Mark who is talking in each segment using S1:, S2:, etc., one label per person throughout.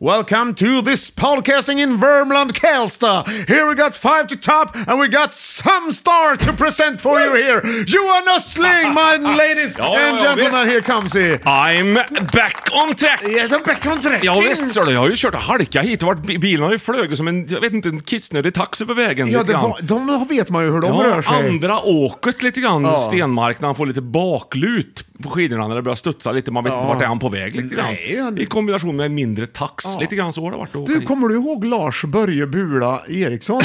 S1: Welcome to this podcasting in Vermland Kalsta. Here we got five to top and we got some star to present for you here. Johan Östling, my ladies
S2: Ja, ja,
S1: and
S2: ja,
S1: gentlemen,
S2: visst.
S1: here comes he.
S2: I'm back on track!
S1: Yes, I'm back on track.
S2: Ja visst, så det. jag har ju kört och halka hit och varit, bilen har ju flugit som en, jag vet inte, en kissnödig taxi på vägen.
S1: Ja,
S2: lite
S1: det
S2: grann.
S1: var, de vet man ju hur de rör sig.
S2: andra åket lite grann,
S1: Ja.
S2: Stenmark, när han får lite baklut på skidorna när det börjar studsa lite. Man vet inte vart är han på väg lite grann.
S1: Nej, han-
S2: I kombination med en mindre tax. Lite grann så har det varit att åka
S1: Du,
S2: hit.
S1: kommer du ihåg Lars Börje Bula Eriksson?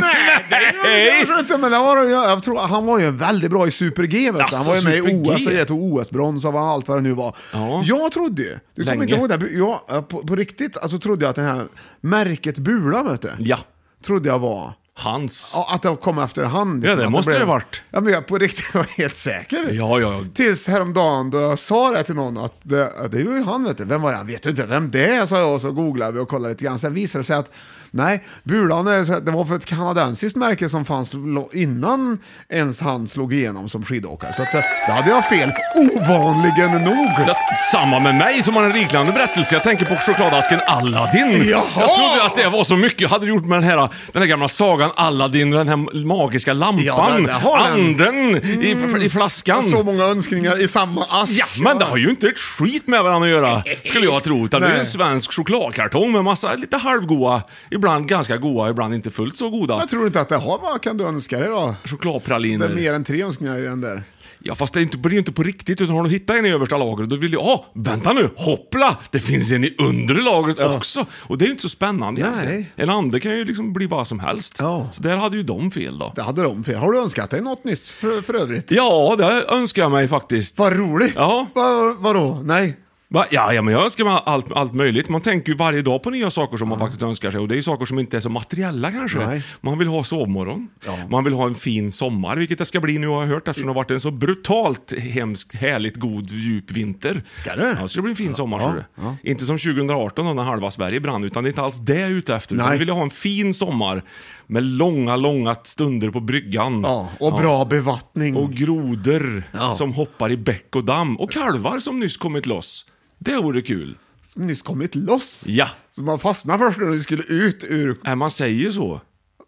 S1: Nej, det gör jag kanske inte, men det var, jag, jag tror, han var ju väldigt bra i Super-G. vet du. han
S2: Alltså,
S1: var ju med i
S2: Super-G.
S1: OS, jag tog OS-brons och vad- allt vad det nu var.
S2: Ja.
S1: Jag trodde ju, du kommer
S2: Länge.
S1: inte ihåg det, jag, på, på riktigt alltså, trodde jag att det här märket Bula, vet du,
S2: Ja,
S1: trodde jag var...
S2: hans.
S1: Ja, att det kom efterhand.
S2: Ja, det
S1: Att
S2: måste
S1: blev-
S2: det varit.
S1: Ja, men jag på riktigt var helt säker.
S2: Ja, ja, ja.
S1: Tills häromdagen då jag sa det till någon att det, det är ju han vet du. Vem var det? Han vet ju inte vem det är, sa jag och så googlade vi och kollade lite grann. Sen visade det sig att nej, Bulan, är så här- det var för ett kanadensiskt märke som fanns lo- innan ens han slog igenom som skidåkare. Så att, det det hade jag fel, ovanligen nog.
S2: Ja, samma med mig som har en riklande berättelse. Jag tänker på chokladasken Aladdin.
S1: Jaha!
S2: Jag trodde att det var så mycket. Jag hade gjort med den här, den här gamla sagan Aladdin och den här magiska lampan.
S1: Ja, där- där har den. Mm.
S2: Anden i, i flaskan.
S1: Så många önskningar i samma ask.
S2: Ja, men det har ju inte ett skit med varandra att göra, skulle jag tro. Utan det är
S1: Nej.
S2: en svensk chokladkartong med massa lite halvgoa, ibland ganska goa, ibland inte fullt så goda
S1: Jag tror inte att det har, vad kan du önska dig då? Det är
S2: chokladpraliner.
S1: mer än tre önskningar i den där.
S2: Ja, fast det är inte- blir ju inte på riktigt, utan har du hittat en i översta lagret, då vill du, ah, vänta nu, hoppla! Det finns en i undre lagret också! Och det är ju inte så spännande
S1: Nej.
S2: egentligen. En ande kan ju liksom bli vad som helst.
S1: Ja.
S2: Så där hade ju de fel då.
S1: Det hade de fel. Har du önskat dig något nyss för, för övrigt?
S2: Ja, det önskar jag mig faktiskt.
S1: Vad roligt!
S2: Ja.
S1: Va, vadå? Nej.
S2: Va? Ja, ja, men jag önskar mig allt, allt möjligt. Man tänker ju varje dag på nya saker som man faktiskt önskar sig. Och det är ju saker som inte är så materiella kanske.
S1: Nej.
S2: Man vill ha sovmorgon. Man vill ha en fin sommar, vilket det ska bli nu har jag hört eftersom det har varit en så brutalt hemskt, härligt god, djup vinter.
S1: Ska det?
S2: Ja, det ska bli en fin sommar. tror du. Inte som 2018 då när halva Sverige brann, utan det är inte alls det jag är ute efter. Utan
S1: Nej.
S2: vi vill ha en fin sommar med långa, långa stunder på bryggan.
S1: Ja, och bra bevattning.
S2: Och grodor som hoppar i bäck och damm. Och kalvar som nyss kommit loss. Det vore kul.
S1: Som nyss kommit loss.
S2: Ja.
S1: Så man fastnar först när vi skulle ut ur...
S2: Äh, man säger så.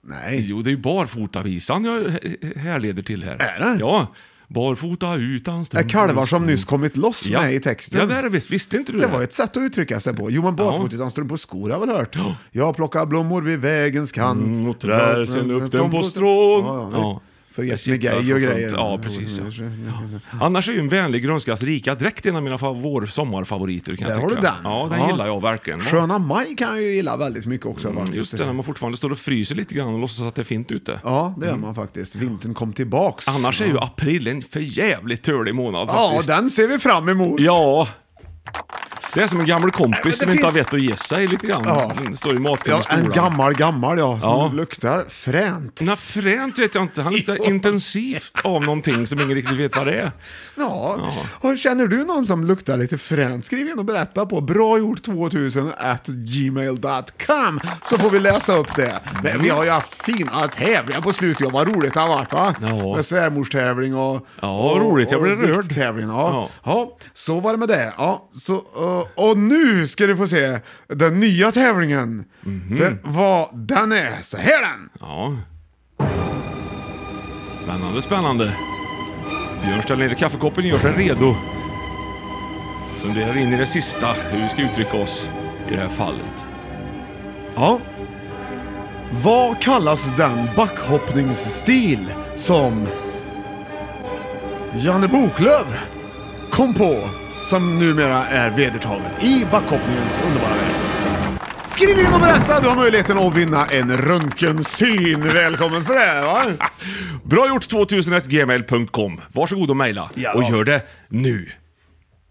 S1: Nej.
S2: Jo, det är ju barfotavisan jag eh, härleder till här.
S1: Är det?
S2: Ja. Barfota utan
S1: Det är
S2: strumpor.
S1: kalvar som nyss kommit loss
S2: ja.
S1: med i texten.
S2: Ja, det är det visst. Visste inte du
S1: Det var ett sätt att uttrycka sig på. Jo, men barfota utan strumpor skor har jag väl hört. Jag plockar blommor vid vägens kant.
S2: Mm, och trär sen upp den på strån.
S1: Ja, ja,
S2: Ja.
S1: visst. För gäst med
S2: Jag
S1: gej
S2: cyklar
S1: och
S2: för
S1: grejer.
S2: fullt. Ja, precis. Ja. Annars är ju en vänlig grönskas rika dräkt en av mina fa- vår sommarfavoriter kan jag
S1: Där har du
S2: tycka.
S1: den.
S2: Ja, den gillar jag verkligen. Mm,
S1: Sköna maj kan jag ju gilla väldigt mycket också. faktiskt.
S2: Just det, när man fortfarande står och fryser lite grann och låtsas att det är fint ute.
S1: Ja, det gör man faktiskt. Vintern kom tillbaks.
S2: Mm. Annars är ju april en för jävligt törlig månad
S1: Ja,
S2: faktiskt.
S1: den ser vi fram emot.
S2: Ja. Det är som en gammal kompis
S1: det
S2: som inte har
S1: finns-
S2: vett att ge sig lite grann.
S1: Ja.
S2: Står i matkön i
S1: Ja, en
S2: skolan.
S1: gammal gammal ja, som
S2: Ja.
S1: luktar fränt.
S2: Nej, fränt vet jag inte. Han luktar intensivt av någonting som ingen riktigt vet vad det är.
S1: Ja. Och känner du någon som luktar lite fränt? Skriv in och berätta på bragjort2000 at gmail.com så får vi läsa upp det. Men vi har ju haft fina tävlingar på slutet. Vad roligt det har varit va?
S2: Ja.
S1: Med svärmorstävling och...
S2: Ja, vad roligt. Jag
S1: och
S2: blev rörd.
S1: dikttävling, Ja. Ja.
S2: Ja.
S1: så var det med det. Ja, så, eh, och nu ska du få se den nya tävlingen.
S2: Mhm.
S1: Den, vad den är. Så här är den!
S2: Ja. Spännande, spännande. Björn ställer ner kaffekoppen och gör sig redo. Funderar in i det sista hur vi ska uttrycka oss i det här fallet.
S1: Ja. Vad kallas den backhoppningsstil som Janne Boklöv kom på som numera är vedertaget i backhoppningens underbara värld? Skriv in och berätta, du har möjligheten att vinna en röntgensyn. Välkommen för det, va?
S2: Bra gjort 2001gmail.com. Varsågod och mejla.
S1: Ja.
S2: Och gör det nu.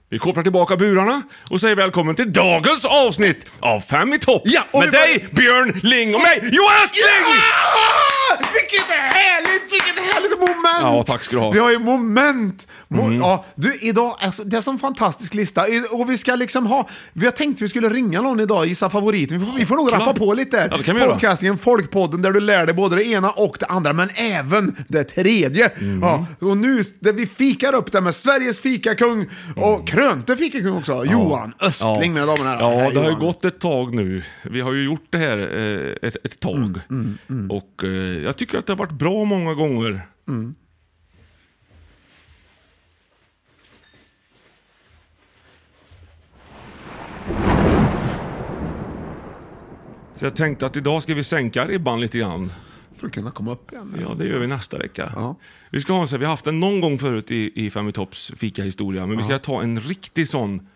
S2: Vi kopplar tillbaka burarna och säger välkommen till dagens avsnitt av Fem i topp.
S1: Ja, och
S2: Med
S1: vi börjar-
S2: dig, Björn Ling och mig, Johan Östling!
S1: Ah, vilket härligt, vilket härligt moment!
S2: Ja, tack ska du ha. Mm.
S1: Vi har ju moment. Mo- ja, du, idag, alltså, det är en sån fantastisk lista. I- Och vi ska liksom ha, vi har tänkt vi skulle ringa någon idag och gissa favoriten. Vi får, vi får nog
S2: Klart.
S1: rappa på lite. där.
S2: Ja, det kan vi göra.
S1: Podcastingen, Folkpodden, där du lär dig både det ena och det andra, men även det tredje.
S2: Mm.
S1: Ja, och nu, där vi fikar upp det med Sveriges fikakung och krönte fikakung också, Johan Östling, mina damer och herrar.
S2: Mm. Ja,
S1: Här,
S2: det har ju
S1: Johan.
S2: gått ett tag nu. Vi har ju gjort det här eh, ett, ett tag.
S1: Mm,
S2: Och eh, jag tycker att det har varit bra många gånger.
S1: Mm.
S2: Så jag tänkte att idag ska vi sänka ribban lite grann.
S1: För att kunna komma upp igen.
S2: Ja, det gör vi nästa vecka. Vi ska ha en sån, vi har haft den någon gång förut i, i Fem i topps fikahistoria, men vi ska ta en riktig sån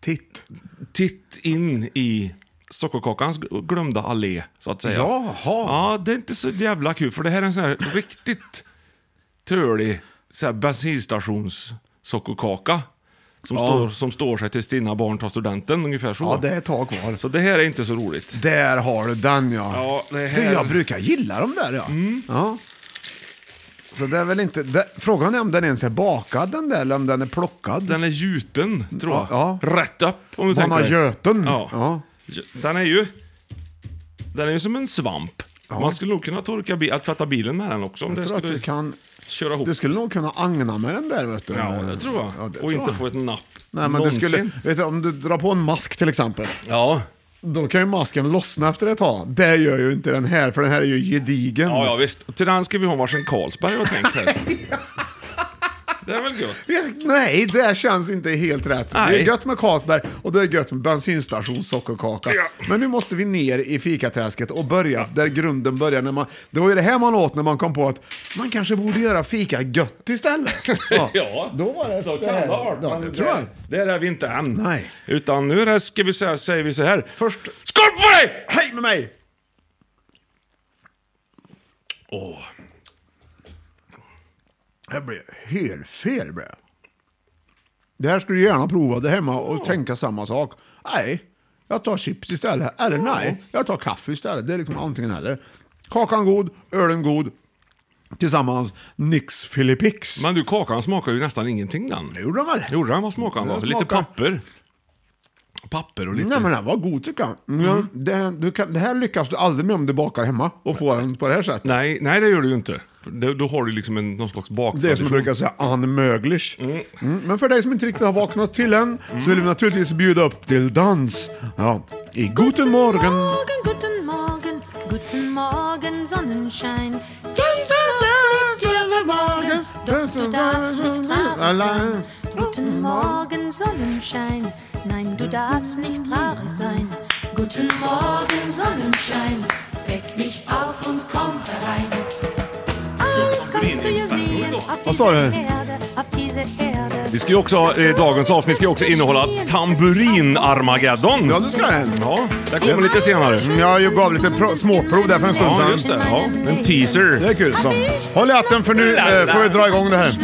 S1: Titt.
S2: titt in i sockerkakans glömda allé, så att säga.
S1: Jaha.
S2: Ja, det är inte så jävla kul, för det här är en sån här riktigt tölig så här bensinstations sockerkaka. Som, står, som står sig tills dina barn tar studenten, ungefär så.
S1: Ja, det är ett tag kvar.
S2: Så det här är inte så roligt.
S1: Där har du den ja.
S2: Ja, det här- Mm.
S1: du, jag brukar gilla de där ja. ja. Så det är väl inte... Det, frågan är om den ens är bakad den där eller om den är plockad.
S2: Den är gjuten, tror jag.
S1: Ja, ja.
S2: Rätt upp, om du tänker
S1: Vanna
S2: dig.
S1: Göten.
S2: Ja.
S1: Ja.
S2: Den är ju... Den är ju som en svamp. Man skulle nog kunna torka bi- att tvätta bilen med den också om
S1: Jag
S2: det
S1: tror att
S2: skulle
S1: du kan...
S2: köra ihop.
S1: Du skulle nog kunna agna med den där vet du.
S2: Ja, det tror jag.
S1: eh, Ja, det
S2: och
S1: tror
S2: inte
S1: jag.
S2: få ett napp
S1: Nej, men du
S2: någonsin.
S1: skulle, vet du, om du drar på en mask till exempel,
S2: Ja.
S1: då kan ju masken lossna efter ett tag. Det gör ju inte den här, för den här är ju gedigen.
S2: ja, ja visst. Till den ska vi ha varsin Carlsberg har jag tänkt här. det är väl gött?
S1: Det- Nej, det känns inte helt rätt. Det är
S2: Nej.
S1: gött med Karlsberg och det är gött med bensinstation sockerkaka. Men nu måste vi ner i fikaträsket och börja där grunden börjar. När man, det var ju det här man åt när man kom på att man kanske borde göra fika gött istället. Då var det
S2: så kan
S1: det
S2: det
S1: här.
S2: ha varit,
S1: Ja,
S2: men
S1: det tror jag.
S2: Där är vi inte än.
S1: Nej.
S2: Utan nu är det, ska vi säga, säger vi så här.
S1: Först,
S2: Skål på dig!
S1: hej med mig!
S2: Åh.
S1: Det blev helt fel. Blev. Det här skulle du gärna prova där hemma och tänka samma sak. Nej, jag tar chips istället. Eller nej, jag tar kaffe istället. Det är liksom antingen eller. Kakan god, ölen god. Tillsammans nix filipix.
S2: Men du, kakan smakar ju nästan ingenting den.
S1: Det gjorde de väl?
S2: Gjorde den vad smakade den?
S1: Den
S2: då? Lite
S1: smakar-
S2: papper. Papper och lite...
S1: Nej men den var god tycker jag. Mm. Det, du kan, det här lyckas du aldrig med om du bakar hemma och får den på det här sättet.
S2: Nej, nej, det gör du ju inte. För det- Då har du liksom en, någon slags
S1: Det är som
S2: baktradition.
S1: man brukar säga, unmöglich. Mm. Men för dig som inte riktigt har vaknat till än så vill vi naturligtvis bjuda upp till dans. Ja, i Guten Morgen.
S3: Guten Morgen, guten Morgen, Sonnenschein. Doch du darfst nicht traurig sein. Guten Morgen, Sonnenschein. Nein, du darfst nicht traurig sein. Guten Morgen, Sonnenschein. Weck mich auf und komm herein. Alles kannst du hier sehen. Auf
S1: Was soll denn?
S3: dieser Erde, auf dieser Erde.
S2: Vi ska ju också, ha- eh, dagens avsnitt ska ju också innehålla tamburin-armageddon.
S1: Ja, du ska den.
S2: Ja, det kommer lite senare.
S1: Mm, Jag gav lite pro- småprov där för en stund
S2: Ja,
S1: sedan.
S2: just det.
S3: Mm.
S2: Ja, en teaser.
S1: Det är kul. Så. Håll i hatten för nu eh, får vi dra igång det här.
S3: So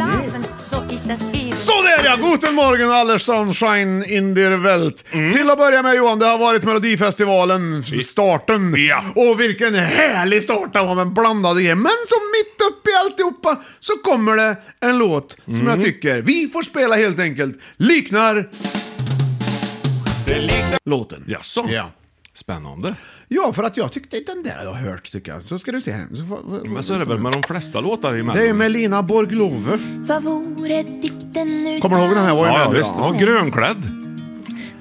S3: ist ist das Ewige.
S1: Sådär ja! Guten Morgen alle Sunshine in der Welt.
S2: Mm.
S1: Till att börja med Johan, det har varit Melodifestivalen, starten.
S2: Ja.
S1: Och vilken härlig start det var med blandade grejer. Men så mitt uppe i alltihopa så kommer det en låt
S2: Mm.
S1: som jag tycker vi får spela helt enkelt. Liknar låten.
S2: Jaså?
S1: Ja.
S2: Spännande.
S1: ja, för att jag tyckte den där har jag hört tycker jag. Så ska du se här. Så får-
S2: Men så är det väl med de flesta låtar i
S1: Det är ju
S2: Mello?
S1: med Lina Borglove.
S3: Vad vore dikten utan
S1: Kommer du ihåg den här? Var ju
S2: Ja,
S1: med
S2: ja,
S1: bra.
S2: visst. Och grönklädd.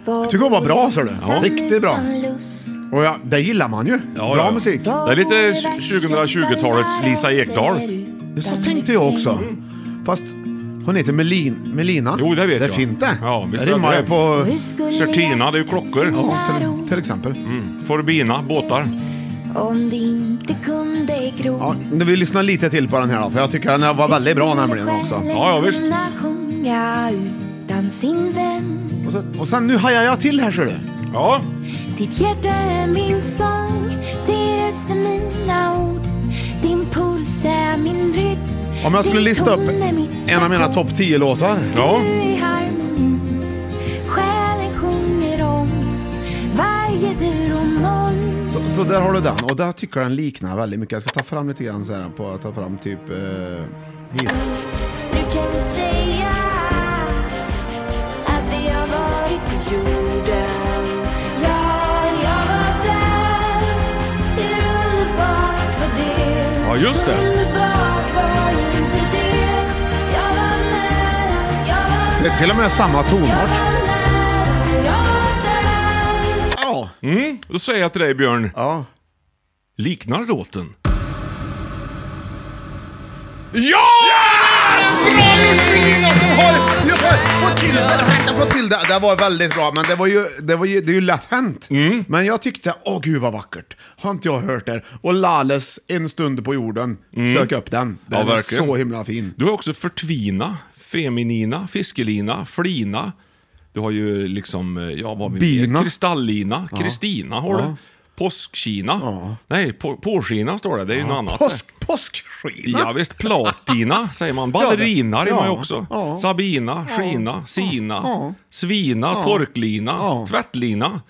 S3: Jag
S1: tycker hon var bra, sa du. Ja. Riktigt bra.
S3: Lust.
S1: Och ja, det gillar man ju.
S2: Ja,
S1: bra
S2: ja.
S1: musik.
S2: Det är lite 2020-talets Lisa Ekdahl.
S1: Det så tänkte jag också. Fast hon heter Melin, Melina.
S2: Jo, det vet
S1: det
S2: jag.
S1: är fint det.
S2: Ja,
S1: det
S2: visst är
S1: rimmar
S2: det.
S1: ju på...
S3: Hur skulle
S2: Certina, det är ju
S3: jag
S2: klockor.
S1: Ja,
S3: finna
S1: till, till exempel.
S2: Forbina, båtar.
S3: ro Om det inte kunde gro
S1: Ja, nu vill vi lyssna lite till på den här då, för jag tycker den här var väldigt bra nämligen också.
S2: Ja, ja, visst.
S3: Kunna sjunga utan sin vän
S1: Och, så, och sen nu hajar jag till här ser du.
S2: Ja,
S3: Ditt hjärta är min sång Din röst är mina ord Din puls är min rytm
S1: Om jag skulle
S3: Din
S1: lista upp
S3: ton är mitt
S1: en av mina
S3: ackord.
S1: topp 10-låtar.
S2: ja.
S3: Du i harmoni Själen sjunger om Varje dur och moln
S1: Så, så där har du den. Och där tycker jag den liknar väldigt mycket. Jag ska ta fram lite grann så här på att ta fram typ... Eh, hit.
S3: Nu kan vi säga att vi har varit på jorden. Ja, jag var där. Hur underbart var det?
S2: Ja, just det.
S3: Hur Underbart var inte det? Jag var nära, jag var
S1: Det är till och med samma tonart.
S3: nära, jag var där.
S1: Ja.
S2: Mm, då säger jag till dig Björn,
S1: Ja.
S2: liknar låten?
S1: Ja! Det är en Bra gjort Regina som har... Jag får- får till det, jag får till det. Det var väldigt bra, men det var ju, det var ju, det är ju lätt hänt.
S2: Mm.
S1: Men jag tyckte, åh gud vad vackert. Har inte jag hört det? Och Lales, En stund på jorden. Sök upp den. Den
S2: Mm. Ja,
S1: är
S2: verkligen.
S1: så himla fin.
S2: Du har också förtvina, feminina, fiskelina, flina. Du har ju liksom, eh, ja vad vi
S1: Bina.
S2: Kristallina, Kristina har du. Påskkina. Nej, på, påskina står det. Det är ju något annat.
S1: Påsk, påskskina.
S2: Ja, visst, platina säger man. Ballerina
S1: Ja, det-
S2: rimmar ju
S1: ja,
S2: också.
S1: ja.
S2: Sabina, skina, sina, svina, torklina, tvättlina.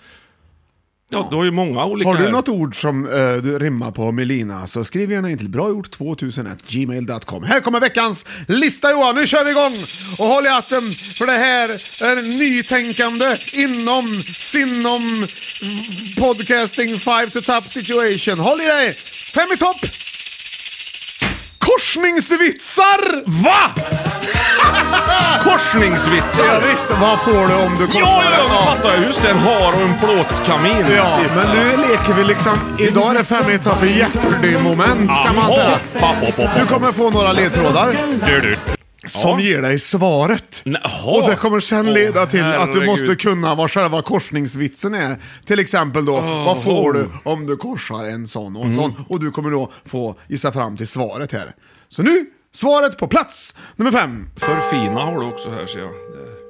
S2: Ja, du har ju många olika
S1: Har du
S2: här.
S1: något ord som eh, du rimmar på Melina så skriv gärna in till bragjort2001gmail.com. Här kommer veckans lista Johan, nu kör vi igång! Och håll i hatten, för det här är nytänkande inom, sinom mm, podcasting five to top situation. Håll i dig! Fem i topp! Korsningsvitsar!
S2: Va?
S1: Ja,
S2: Korsningsvitsar!
S1: visst, vad får du om du kommer
S2: Ja, ja,
S1: med
S2: ja,
S1: den?
S2: nu fattar jag. Just det, en har och en plåtkamin.
S1: Ja,
S2: Typ.
S1: men nu leker vi liksom... Idag är det fem i topp i Jeopardy-moment kan man säga.
S2: Jaha, hopp, hopp, hopp.
S1: Du kommer få några ledtrådar
S2: Du, du.
S1: som ger dig svaret.
S2: Jaha.
S1: Och det kommer sen leda till att du
S2: herregud.
S1: måste kunna vad själva korsningsvitsen är. Till exempel då, vad får du om du korsar en sån och en
S2: Mm.
S1: sån? Och du kommer då få gissa fram till svaret här. Så nu, svaret på plats nummer fem.
S2: För fina har du också här ser jag. Det-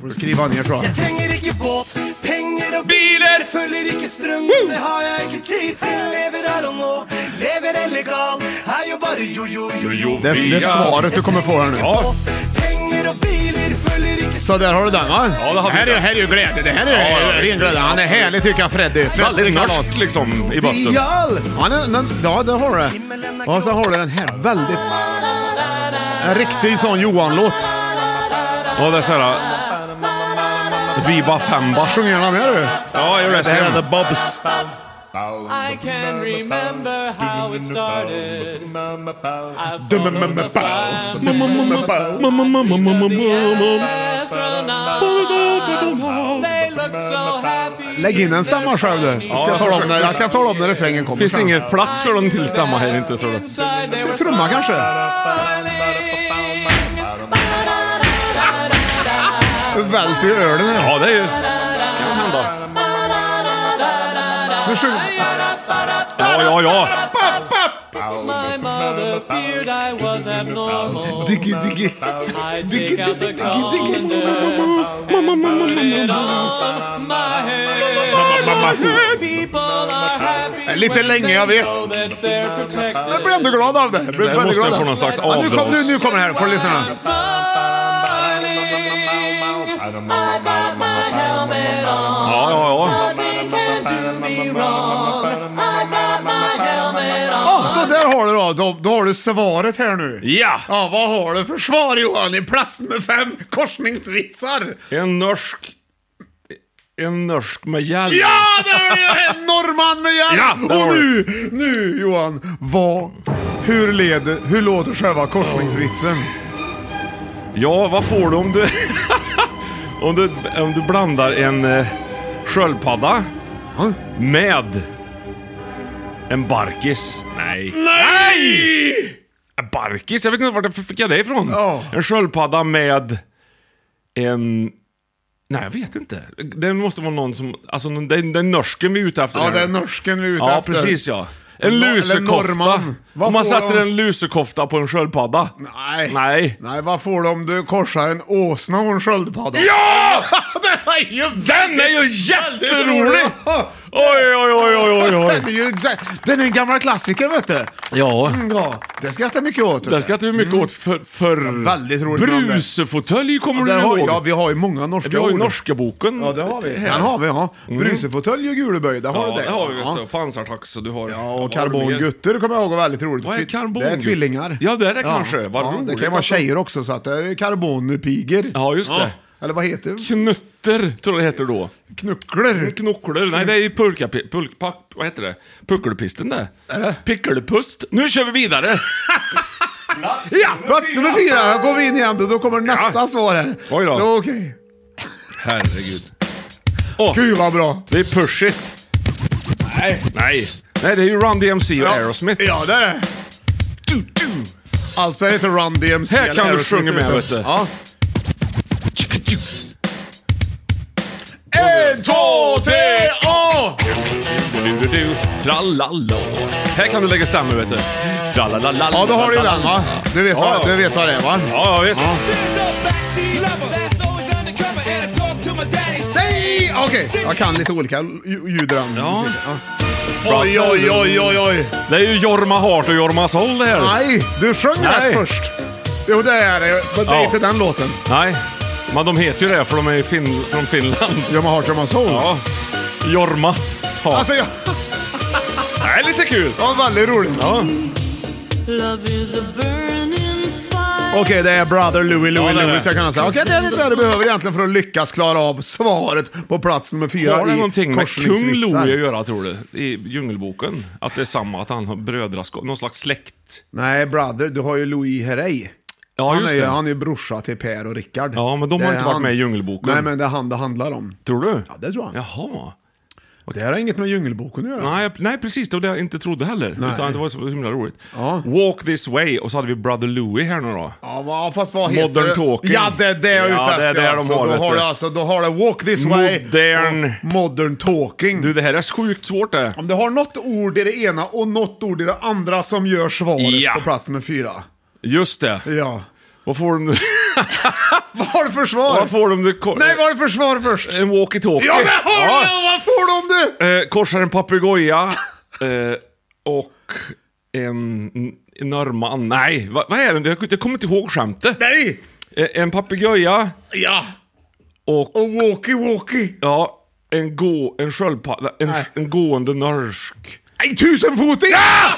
S1: Får du skriva ner tror jag.
S4: trenger ikke båt, penger og
S2: Biler!
S4: følger ikke strøm. Det har jeg ikke tid til. Lever her og nå, lever illegal. Er jo bare jo-jo, jo-jo.
S1: Det är, det är svaret du kommer få här nu.
S2: Ja.
S4: Penger og biler følger ikke
S1: Så där har du den va?
S2: Ja, det har vi
S1: här, är,
S2: det.
S1: här är ju glädje. Det här
S2: Ja, ja,
S1: är
S2: visst,
S1: ren glädje. Han är härlig tycker jag Freddy. Freddy
S2: Väldigt
S1: Kalas.
S2: norskt liksom i botten.
S1: Ja, den, den, ja, där har du det. Och så har du den här väldigt... En riktig sån Johan-låt.
S2: Ja, det är eh, såhär... Viba Femba.
S1: Sjunger gärna med du.
S2: Ja, jag gör det.
S1: Det här är
S2: sen.
S1: The Bobs.
S5: I can remember how it started. I followed the fire astronauts. They looked so happy.
S1: Lägg in en stämma själv du. Så ska jag, tala om när, jag kan tala om när refrängen kommer.
S2: Finns
S1: sen.
S2: ingen plats för dem till stämma här inte så.
S5: Inside they were
S1: Trumma kanske? Du välter ju ölen här.
S2: Ja, det är ju... Kan hända.
S1: Nu sjunger...
S2: Ja, ja, ja.
S5: My mother feared I was abnormal.
S1: Diggy, diggy.
S5: I
S1: Diggy,
S5: dig out the
S1: diggy, diggy, diggy.
S5: colander and put it on my head. People are happy
S1: Eh, Lite
S5: when
S1: länge,
S5: they
S1: jag vet.
S5: know that they're protected.
S1: Jag blir ändå glad av det. Jag blir
S2: Det
S1: väldigt
S2: måste
S1: glad
S2: jag
S1: av
S2: få
S1: det.
S2: någon slags
S1: Ja, nu, kom, nu, nu
S2: avdrags...
S1: kommer det här, får du lyssna. nu.
S5: Smiling, I got my helmet on.
S2: Ja, ja, ja.
S5: Nothing can do me wrong. I got my helmet on.
S1: Ja, Ah, så där har du då. då. Då har du svaret här nu.
S2: Ja!
S1: Ja, vad har du för svar Johan? I plats nummer fem, korsningsvitsar.
S2: En norsk... En norsk med hjälp.
S1: Ja, det var ju en norrman med hjälp!
S2: Ja, det var
S1: Och nu, nu Johan, vad, hur leder, hur låter själva korsningsvitsen?
S2: Ja, vad får du om du... om, du om du blandar en eh, sköldpadda
S1: Ja.
S2: med en barkis? Nej.
S1: Nej!
S2: En Barkis? Jag vet inte vart jag fick jag det ifrån.
S1: Ja.
S2: En sköldpadda med en... Nej, jag vet inte. Det måste vara någon som... Alltså, den, den, den norsken vi är ute efter.
S1: Ja,
S2: här.
S1: det är norsken vi är ute
S2: Ja,
S1: efter.
S2: precis ja. En
S1: Eller
S2: lusekofta.
S1: norrman. Vad
S2: Om man
S1: får
S2: sätter
S1: de?
S2: en lusekofta på en sköldpadda.
S1: Nej.
S2: Nej.
S1: Nej, vad får du om du korsar en åsna och en sköldpadda?
S2: Ja!
S1: Den är ju
S2: Den är ju jätterolig!
S1: Ja.
S2: Oj, oj, oj, oj, oj, oj.
S1: Den är ju exakt- Den är en gammal klassiker vet du. Mm,
S2: Ja.
S1: Ja, det skrattar jag mycket åt. vet
S2: Det
S1: du.
S2: skrattade vi mycket åt för, för
S1: väldigt roligt namn där.
S2: Brusefåtölj kommer
S1: Där
S2: du
S1: har,
S2: ihåg?
S1: ja, vi har ju många norska
S2: vi har ju
S1: ord.
S2: norska boken.
S1: Ja, det har vi. Den har vi, ja. Brusefåtölj och guleböj, där har
S2: Ja,
S1: du det.
S2: det har vi vet
S1: Ja.
S2: du. Och Pansartax och du har...
S1: Ja, och
S2: vad har du mer?
S1: karbongutter kommer jag ihåg var väldigt roligt.
S2: Vad är karbon?
S1: Det är tvillingar.
S2: Ja, det är det kanske. Vad
S1: Det
S2: roligt
S1: kan ju vara
S2: att de-
S1: tjejer också, så att det är karbonpigor.
S2: Ja, just det.
S1: Eller vad heter det?
S2: Knutter, tror jag det heter då.
S1: Knuckler.
S2: Knockler, nej det är ju pulka... Pulk, pack, vad heter det? Puckelpisten det. Pickelpust. Nu kör vi vidare!
S1: Ja, plats nummer fyra. Här går vi in igen då. Då kommer nästa svar här.
S2: Oj då.
S1: Ja, Okej.
S2: Herregud.
S1: Gud vad bra.
S2: Det är Push It.
S1: Nej.
S2: Nej. Nej, det är ju Run DMC och Aerosmith.
S1: Ja, det är det.
S2: Du, du.
S1: Alltså är det inte Run DMC
S2: Här
S1: eller
S2: kan du
S1: Aerosmith,
S2: sjunga med,
S1: utan-
S2: vet du.
S1: Ja.
S2: En,
S1: Två, tre, åh!
S2: Du, du, du. Trallala. Här kan du lägga stämmer vet du. Tralala.
S1: Ja, då har du den va? Du vet,
S2: Ja,
S1: vad,
S2: ja.
S1: du vet vad det är va?
S2: Ja, ja, visst.
S1: Nej! Okej, jag kan lite olika lj- ljud i den.
S2: Ja.
S1: Oj, oj, oj, oj, oj.
S2: Det är ju Jorma Hart och Jorma Soll det här.
S1: Nej, du sjöng
S2: Nej.
S1: rätt först. Jo, det är det. Men det är
S2: Ja.
S1: inte den låten.
S2: Nej. Men de heter ju det för de är ju fin från Finland.
S1: Jomma Heart, Jomma Soul.
S2: Ja. Jorma Hart.
S1: Alltså, jag,
S2: Det är lite kul.
S1: det var väldigt roligt.
S2: Ja.
S3: Love is a burning fire.
S1: Okej, det är Brother Louie Louie
S2: Ja, det är
S1: Louie.
S2: det.
S1: Jag kan säga. Okej, det är lite det du behöver egentligen för att lyckas klara av svaret på plats nummer fyra
S2: Har det
S1: i
S2: någonting med kung
S1: korsningsvitsar.
S2: Louie att göra tror du? I Djungelboken? Att det är samma, att han har brödraskap, någon slags släkt?
S1: Nej, Brother, du har ju Louis Herrey.
S2: Ja,
S1: han,
S2: just
S1: är, ju-
S2: det.
S1: han är ju brorsa till Per och Rickard.
S2: Ja, men de har
S1: Det är
S2: inte varit
S1: han-
S2: med i Djungelboken.
S1: Nej, men det är han det handlar om.
S2: Tror du?
S1: Ja, det tror jag.
S2: Jaha.
S1: Det här har inget med Djungelboken att göra.
S2: Nej, jag- nej precis, det var det jag inte trodde heller.
S1: Nej.
S2: Utan det var så himla roligt.
S1: Ja.
S2: Walk this way och så hade vi Brother Louie här nu då.
S1: Ja, va- fast vad heter
S2: Modern
S1: det?
S2: talking.
S1: Ja, det är det jag är
S2: Ja,
S1: ute efter.
S2: det är det de
S1: alltså.
S2: har,
S1: då,
S2: vet
S1: har
S2: du.
S1: du, alltså, då har du Walk this way
S2: Modern-
S1: och modern talking.
S2: Du, det här är sjukt svårt det.
S1: Om du har något ord i det ena och något ord i det andra som gör svaret
S2: Ja.
S1: på plats med fyra.
S2: Just det.
S1: Ja.
S2: Vad får de...
S1: Vad har du för svar?
S2: Vad får de... det-
S1: Nej, vad har du för svar först?
S2: En walkie-talkie.
S1: Ja, men har du? Vad får du om du?
S2: Eh, korsar en papegoja eh, och en en norrman. Nej, vad, vad är det? Jag, jag kommer inte ihåg skämtet.
S1: Nej!
S2: Eh, en papegoja
S1: Ja.
S2: och
S1: Och walkie-walkie.
S2: ja, en, gå, en sköldpadda. En,
S1: Nej.
S2: en gående norsk.
S1: Nej, tusenfoting! Ja!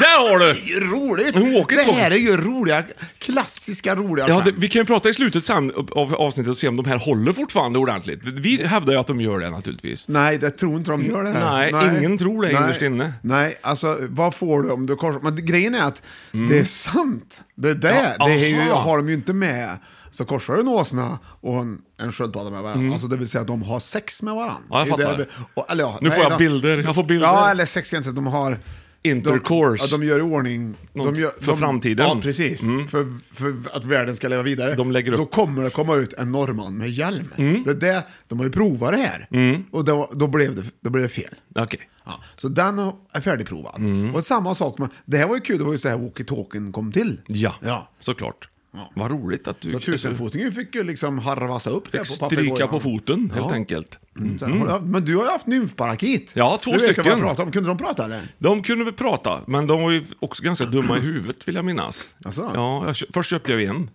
S2: Där har du!
S1: Det är ju roligt.
S2: En walkie-talkie.
S1: Det här är ju roliga, klassiska roliga
S2: Ja, det,
S1: skämt.
S2: vi kan ju prata i slutet sen av avsnittet och se om de här håller fortfarande ordentligt. Vi hävdar ju att de gör det naturligtvis.
S1: Nej, det tror inte de gör det här.
S2: Nej, ingen tror det innerst inne.
S1: Nej, alltså vad får du om du korsar? Men grejen är att det är sant. Det är det.
S2: Mm. Ja,
S1: det är ju,
S2: aha.
S1: har de ju inte med. Så korsar du en åsna och en, en sköldpadda med varandra. Alltså det vill säga att de har sex med varandra.
S2: Mm. Ja, jag
S1: Det är
S2: fattar.
S1: det- och, eller, ja,
S2: Nu
S1: nej,
S2: får jag
S1: de-
S2: bilder. Jag får bilder.
S1: Ja, eller sex kanske att de har...
S2: intercourse.
S1: Ja, de gör i ordning...
S2: Något
S1: de gör,
S2: för
S1: de,
S2: framtiden.
S1: Ja, precis. För, för att världen ska leva vidare.
S2: Mm. De lägger upp- Mm.
S1: Då kommer det komma ut en norrman med hjälm. Det är det, de har ju provat det här. Och då, då, blev det, då blev det fel.
S2: Okej.
S1: Ja, så den är färdigprovad.
S2: Mm.
S1: Och samma sak med... Det här var ju kul, det var ju så här walkie-talkien kom till.
S2: Ja,
S1: ja.
S2: såklart.
S1: Ja.
S2: Vad roligt att du
S1: Så tusenfotingen fick ju liksom harvasa upp det på
S2: stryka på foten helt
S1: Ja.
S2: enkelt.
S1: Mm. Sen har du haft- Men du har ju haft nymfparakit.
S2: Ja, två
S1: du vet ju Vad
S2: stycken.
S1: jag pratar om. Kunde de prata eller?
S2: De kunde väl prata, men de var ju också ganska dumma i huvudet vill jag minnas.
S1: Asså?
S2: Ja, jag, kö- först köpte jag ju en.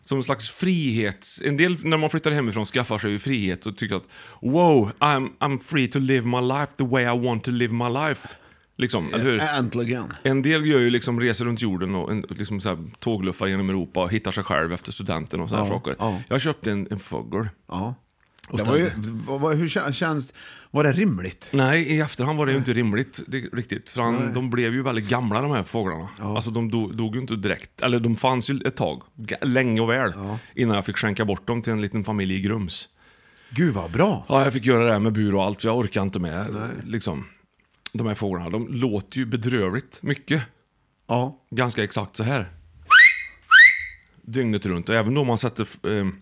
S2: Som en slags frihets... En del när man flyttar hemifrån skaffar sig ju frihet och tycker att wow, I'm, I'm free to live my life the way I want to live my life. Liksom, eller hur?
S1: Äntligen.
S2: En del gör ju liksom reser runt jorden och en, liksom så här, tågluffar genom Europa och hittar sig själv efter studenten och sådana
S1: Ja,
S2: saker.
S1: ja.
S2: Jag köpte en, en fågel.
S1: Ja. Det var ju, vad, vad- hur kän- känns... Var det rimligt?
S2: Nej, i efterhand var det ju inte rimligt ri- riktigt. För han, de blev ju väldigt gamla de här fåglarna. Alltså de dog, dog ju inte direkt. Eller de fanns ju ett tag, g- länge och väl, innan jag fick skänka bort dem till en liten familj i Grums.
S1: Gud vad bra.
S2: Ja, jag fick göra det här med bur och allt, för jag orkar inte med liksom, de här fåglarna. De låter ju bedrövligt mycket.
S1: Ja.
S2: Ganska exakt så här. Dygnet runt. Och även då man sätter f- ehm,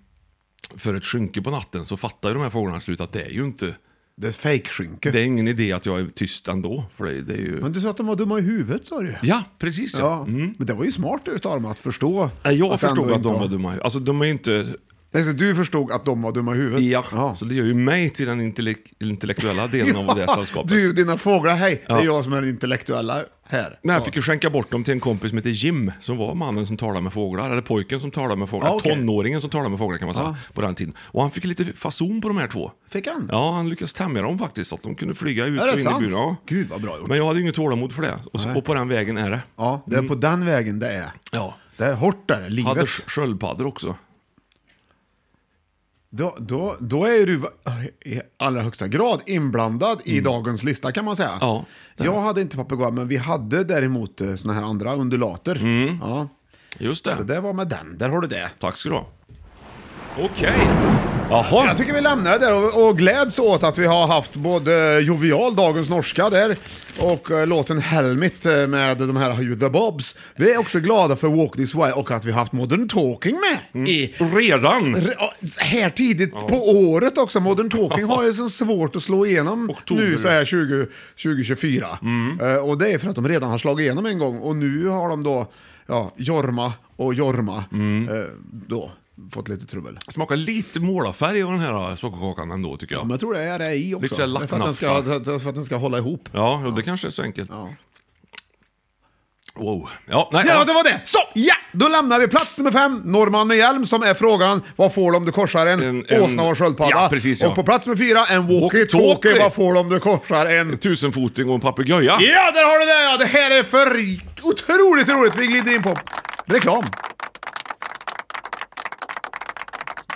S2: för ett skynke på natten så fattar ju de här fåglarna till slut att det är ju inte...
S1: Det är fejkskynke.
S2: Det är ingen idé att jag är tyst ändå. För det, det är ju...
S1: Men du sa att de var dumma i huvudet sa du
S2: Ja, precis. Ja.
S1: Ja. Men det var ju smart utav dem att förstå.
S2: Nej, Jag
S1: ändå
S2: förstod att
S1: inte
S2: de var dumma. i- Alltså de är ju inte...
S1: Nej, så du förstod att de var dumma i huvudet?
S2: Ja.
S1: ja.
S2: Så det gör ju mig till den intellek- intellektuella delen av det sällskapet.
S1: Du, dina fåglar, hej, det
S2: Ja.
S1: är jag som är den intellektuella här.
S2: Nej,
S1: Så.
S2: jag fick ju skänka bort dem till en kompis som heter Jim, som var mannen som talade med fåglar, eller pojken som talade med fåglar,
S1: Ja, Ah, okej. Ah.
S2: tonåringen som talade med fåglar kan man säga, på den tiden. Och han fick lite fason på de här två.
S1: Fick han?
S2: Ja, han lyckades tämja dem faktiskt, så att de kunde flyga ut
S1: Är det
S2: och in
S1: sant?
S2: i buren. Ja.
S1: Gud, vad bra gjort.
S2: Men jag hade ju inget tålamod för det, och, och på den vägen är det.
S1: Ja, det är på den vägen det är.
S2: Ja.
S1: Det är hårt där, livet.
S2: Hade sk- sköldpaddor också.
S1: Då, då, då är du i allra högsta grad inblandad i dagens lista kan man säga.
S2: Mm. Ja, det
S1: jag hade inte papegoja, men vi hade däremot eh, såna här andra undulater.
S2: Mm.
S1: Ja,
S2: Just
S1: så
S2: det.
S1: det var med den, där har du det.
S2: Tack ska du ha. Okej. Jaha.
S1: Jag tycker vi lämnar det där och, och gläds åt att vi har haft både Jovial, dagens norska där, och eh, låten Helmit eh, med de här Hugh the Bobs. Vi är också glada för Walk This Way och att vi har haft Modern Talking med i
S2: Redan?
S1: Re- ja, Här tidigt på året också. Modern Talking har ju så svårt att slå igenom
S2: Oktober.
S1: nu så här 20, 2024. Eh, och det är för att de redan har slagit igenom en gång och nu har de då ja, Jorma och Jorma eh, då fått lite trubbel.
S2: Smakar lite målarfärg av den här äh, sockerkakan ändå tycker
S1: Men
S2: jag.
S1: jag tror det är det i också.
S2: Lite så här
S1: Det är för, att den ska, för att den ska hålla ihop.
S2: Ja, och det kanske är så enkelt.
S1: Ja.
S2: Wow. Ja, nej.
S1: Ja, det var det! Så, ja! Då lämnar vi plats nummer fem, Norrman med hjälm, som är frågan vad får du om du korsar en,
S2: En- en-
S1: åsna och en sköldpadda?
S2: Ja, precis, ja.
S1: Och på plats nummer fyra, en walkie-talkie,
S2: Walkie-talkie.
S1: vad får du om du korsar en...
S2: Tusenfoting och en papegoja.
S1: Ja, där har du det! Ja. Det här är för otroligt roligt. Vi glider in på reklam.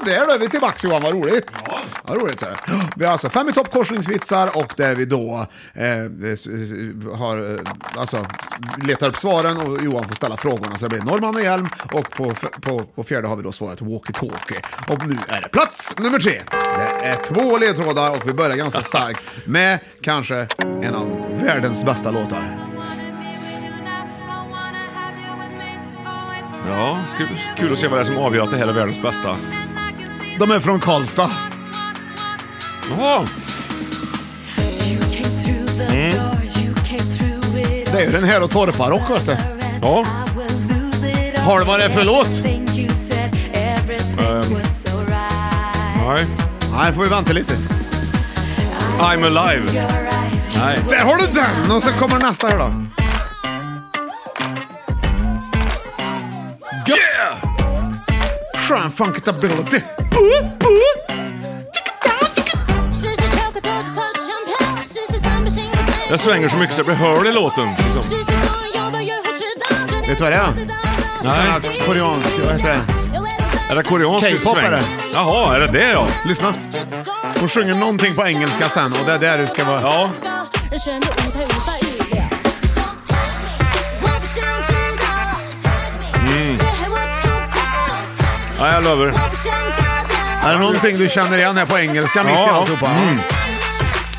S1: Så Där då är vi tillbaka Johan, vad roligt. Ja. Vad roligt. Så här. Vi har alltså fem i topp korsningsvitsar och där vi då eh, s- s- har, eh, alltså, s- letar upp svaren och Johan får ställa frågorna så det blir Norrman och Hjelm och på, f- på, på fjärde har vi då svaret walkie-talkie. Och nu är det plats nummer tre. Det är två ledtrådar och vi börjar ganska starkt med kanske en av världens bästa låtar.
S2: Ja, sku- kul att se vad det är som avgör att det här är världens bästa.
S1: De är från Karlstad.
S2: Jaha! Mm.
S1: Det är ju den här och torparrock vet du.
S2: Ja.
S1: Har vad det är för låt?
S2: Ehm, nej.
S1: Nej, får vi vänta lite.
S2: I'm alive. Nej.
S1: Där har du den! Och sen kommer nästa här då. Gött!
S2: Yeah!
S1: Shrine Funkitability.
S2: Jag svänger så mycket så jag blir hörd i låten. Liksom.
S1: Vet du vad det är? Den
S2: Nej.
S1: här koreansk, vad heter det?
S2: Är det koreansk
S1: K-pop är det.
S2: Jaha, är det det ja?
S1: Lyssna. Hon sjunger någonting på engelska sen och det är där du ska vara.
S2: Ja.
S1: Mm.
S2: Ja, jag lovar.
S1: Är det någonting du känner igen här på engelska mitt i
S2: Ja.
S1: alltihopa?
S2: Mm.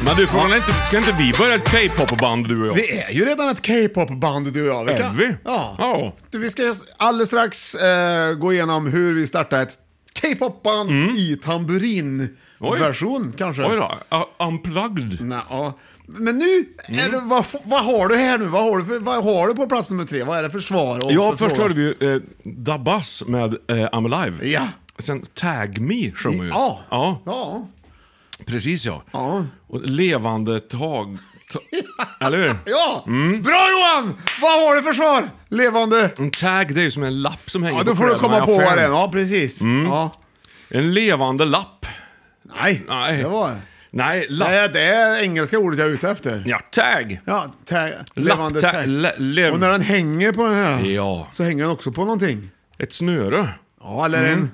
S2: Men du, frågan är inte, ska inte vi börja ett K-pop-band du och jag?
S1: Vi är ju redan ett K-pop-band du och jag.
S2: Är
S1: kan-
S2: vi?
S1: Ja.
S2: Ja.
S1: Du, Vi ska alldeles strax eh, gå igenom hur vi startar ett K-pop-band i tamburinversion kanske.
S2: Mm. Oj då, uh, unplugged.
S1: Nä, ja. Men nu, är
S2: Mm.
S1: det, vad, vad har du här nu? Vad har du, för, vad har du på plats nummer tre? Vad är det för svar? och
S2: Ja,
S1: för
S2: först
S1: frågor?
S2: hörde vi ju eh, Dabas med eh, I'm Alive.
S1: Ja.
S2: Sen Tag Me sjunger ju.
S1: Ja.
S2: ja.
S1: Ja.
S2: Precis ja.
S1: Ja.
S2: Och levande tag... Ta, eller hur?
S1: ja.
S2: Mm.
S1: Bra Johan! Vad har du för svar? Levande...
S2: En tag det är ju som en lapp som hänger
S1: Ja, då
S2: på
S1: får du
S2: kläderna i
S1: komma på vad
S2: affären.
S1: det är. Ja, precis. Ja.
S2: En levande lapp.
S1: Nej.
S2: Nej.
S1: det var
S2: Nej, lapp.
S1: Nej, det är engelska ordet jag är ute efter.
S2: Ja, tag.
S1: Ja, tag, levande
S2: tag-
S1: tag.
S2: le- lev-
S1: Och när den hänger på den här
S2: Ja.
S1: så hänger den också på någonting.
S2: Ett snöre.
S1: Ja, eller
S2: Mm.
S1: en...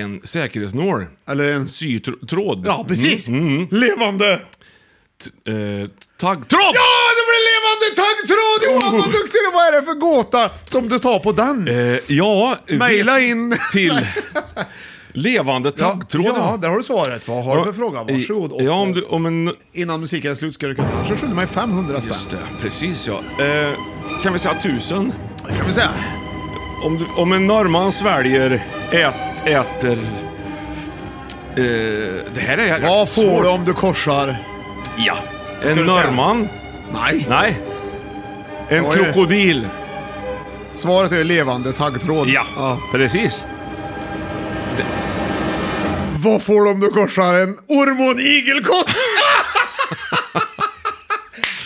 S2: En säkerhetsnål.
S1: Eller en...
S2: Sytråd.
S1: Ja, precis.
S2: Mm. Mm.
S1: Levande!
S2: Eh, taggtråd!
S1: Ja, det blir levande taggtråd! Johan, vad duktig du är! Vad är det för gåta som du tar på den?
S2: Oh. Eh, ja,
S1: Maila
S2: vet-
S1: in.
S2: Till levande taggtråd.
S1: Ja, ja, där har du svaret. Vad har du för fråga? Varsågod.
S2: Ja, om du... Om en,
S1: Innan musiken är slut ska du kunna... Annars skyller mig 500 spänn.
S2: just det, precis ja. Eh, kan vi säga tusen?
S1: kan vi säga.
S2: Om, du, om en norrman sväljer, ät, äter... Eh, det här är jäkligt
S1: Vad får
S2: svårt.
S1: du om du korsar...
S2: Ja.
S1: du
S2: En
S1: säga?
S2: norrman?
S1: Nej.
S2: Nej. En
S1: Oj.
S2: krokodil?
S1: Svaret är levande taggtråd.
S2: Ja, precis.
S1: Vad får du om du korsar en orm och en igelkott?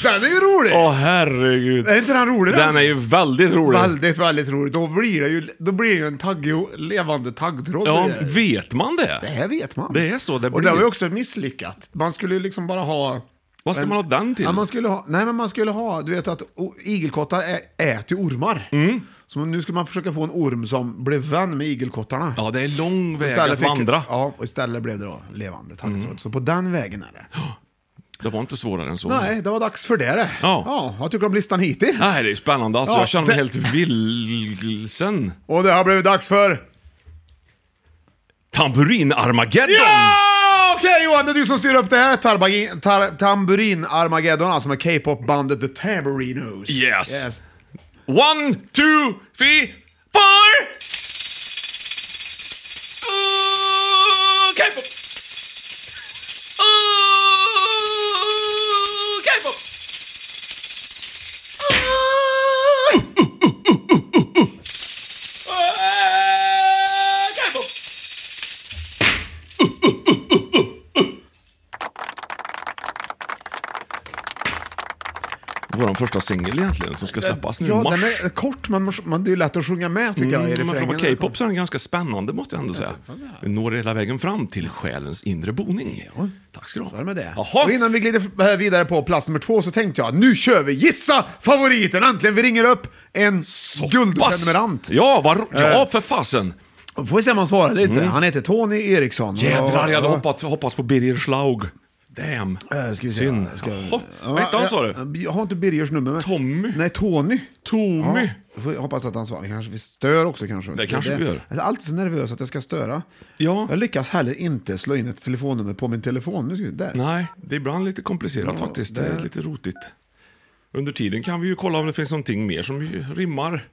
S1: den är ju rolig!
S2: Åh herregud.
S1: Är inte den rolig då?
S2: Den är ju väldigt rolig.
S1: Väldigt, väldigt roligt. Då blir det ju, då blir det ju en tagg, levande taggtråd.
S2: ja,
S1: Det är-
S2: vet man det?
S1: Det här vet man.
S2: Det är så det
S1: Och det
S2: blir.
S1: var ju också misslyckat. Man skulle ju liksom bara ha...
S2: Vad ska man ha den till?
S1: Ja, man skulle ha, nej, men man skulle ha... Du vet att o- igelkottar ä, äter ju ormar.
S2: Mm.
S1: Så nu skulle man försöka få en orm som blev vän med igelkottarna.
S2: Ja, det är lång väg
S1: Istället
S2: att
S1: fick-
S2: vandra. Mm.
S1: Ja, och istället blev det då levande taggtråd. Så på den vägen är det.
S2: Det var inte svårare än så.
S1: Nej, det var dags för det det.
S2: Oh. Ja.
S1: vad tycker du om listan hittills?
S2: Nej, det är ju spännande alltså.
S1: Ja,
S2: jag känner mig
S1: det-
S2: helt vilsen.
S1: Och det har blivit dags för...
S2: Tamburin-Armageddon!
S1: Ja! Ah, Okej Johan, det är du som styr upp det här tarbagin, tar, tamburin Armageddon, alltså med K-pop-bandet The Tamburinos.
S2: Yes. One, two, three, four! Ooh, K-pop! Ooh, K-pop! Ooh, Ah, K-pop! Vår första singel egentligen som ska släppas nu i
S1: Ja,
S2: mars.
S1: den är kort, men man, det är ju lätt att sjunga med tycker jag i
S2: Mm, men för att vara
S1: refrängen.
S2: K-pop så är den ganska spännande måste jag ändå säga. Vi når hela vägen fram till själens inre boning. Tack ska du ha.
S1: Så är det med det. Och
S2: Jaha.
S1: innan vi glider eh, vidare på plats nummer två så tänkte jag, nu kör vi! Gissa favoriten! Äntligen! Vi ringer upp en
S2: Pass.
S1: guldprenumerant. Eh.
S2: Ja, vad ro- ja, för fasen.
S1: Får vi se om han svarar lite. Han heter Tony Eriksson.
S2: Jädrar, Mm. jag hade
S1: Ja.
S2: hoppats, hoppats på Birger Schlaug. Damn.
S1: Eh, ska vi se.
S2: Synd.
S1: Ska-
S2: Jaha, Vad hette han sa du?
S1: Jag, jag har inte Birgers nummer. Men...
S2: Tommy?
S1: Nej, Tony.
S2: Tommy?
S1: Ja, får jag hoppas att han svarar. Vi Kanske, vi stör också kanske.
S2: Det kanske vi gör.
S1: Jag är alltid så nervös att jag ska störa.
S2: Ja.
S1: Jag lyckas heller inte slå in ett telefonnummer på min telefon. Nu ska vi, där.
S2: Nej, det är ibland lite komplicerat faktiskt. Det är
S1: det-
S2: lite rotigt. Under tiden kan vi ju kolla om det finns någonting mer som ju rimmar.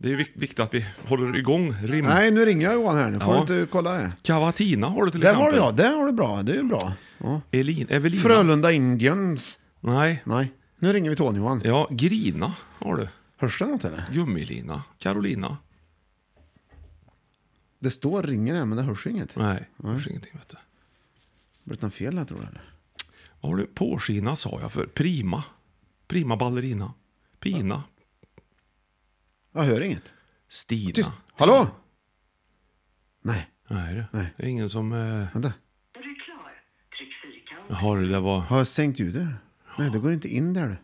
S2: Det är vik- viktigt att vi håller igång rim.
S1: Nej, nu ringer jag Johan här. Nu får
S2: Ja.
S1: du inte kolla det.
S2: Cavatina har du till
S1: Där har
S2: exempel.
S1: du ja, där har du bra. Det är bra. Ja.
S2: Elin, Evelina.
S1: Frölunda Indians.
S2: Nej.
S1: Nej, nu ringer vi Tony Johan.
S2: Ja, Grina har du.
S1: Hörs det något eller?
S2: Gummilina. Carolina.
S1: Det står ringer här, men det hörs inget.
S2: Nej, det hörs ingenting vet du.
S1: Blev det något fel här tror jag? eller?
S2: Vad har du? Påskina sa jag för. Prima. Prima ballerina. Pina.
S1: Jag hör inget.
S2: Stina.
S1: Tyst. Hallå? Nej,
S2: Nej, du.
S1: Nej.
S2: Det är ingen som... Eh...
S1: vänta.
S2: Jaha, det där var...
S1: Har jag sänkt ljudet? Nej, det går inte in där. du.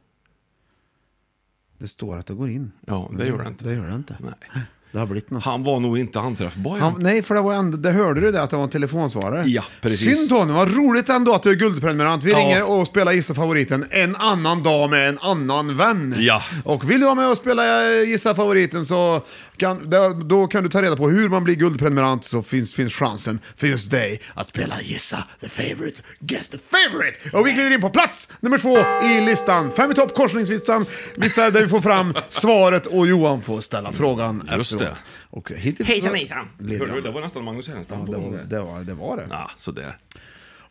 S1: Det står att det går in.
S2: Ja,
S1: Men
S2: det gör det inte.
S1: Det gör det inte.
S2: Nej.
S1: Det har blivit något.
S2: Han var nog inte anträffbar.
S1: Han, nej, för det var ändå, det hörde du det att det var en telefonsvarare.
S2: Ja, precis.
S1: Synd Tony, vad roligt ändå att du är guldprenumerant. Vi
S2: Ja.
S1: ringer och spelar Gissa favoriten en annan dag med en annan vän.
S2: Ja.
S1: Och vill du vara med och spela eh, Gissa favoriten så kan, där- då kan du ta reda på hur man blir guldprenumerant så finns, finns chansen för just dig att spela Gissa the favorite, guess the favorite. Och vi glider in på plats nummer två i listan. Fem i topp, korsningsvitsan, vitsar där vi får fram svaret och Johan får ställa frågan
S2: Just det.
S1: efteråt. Och hittills
S2: Hej
S1: så-
S2: till mig, fan.
S1: Leder
S2: Hörde du,
S1: jag.
S2: det var nästan Magnus Härenstam.
S1: Ja,
S2: på
S1: det var
S2: gång
S1: det. Var, det, var det.
S2: Ja, sådär.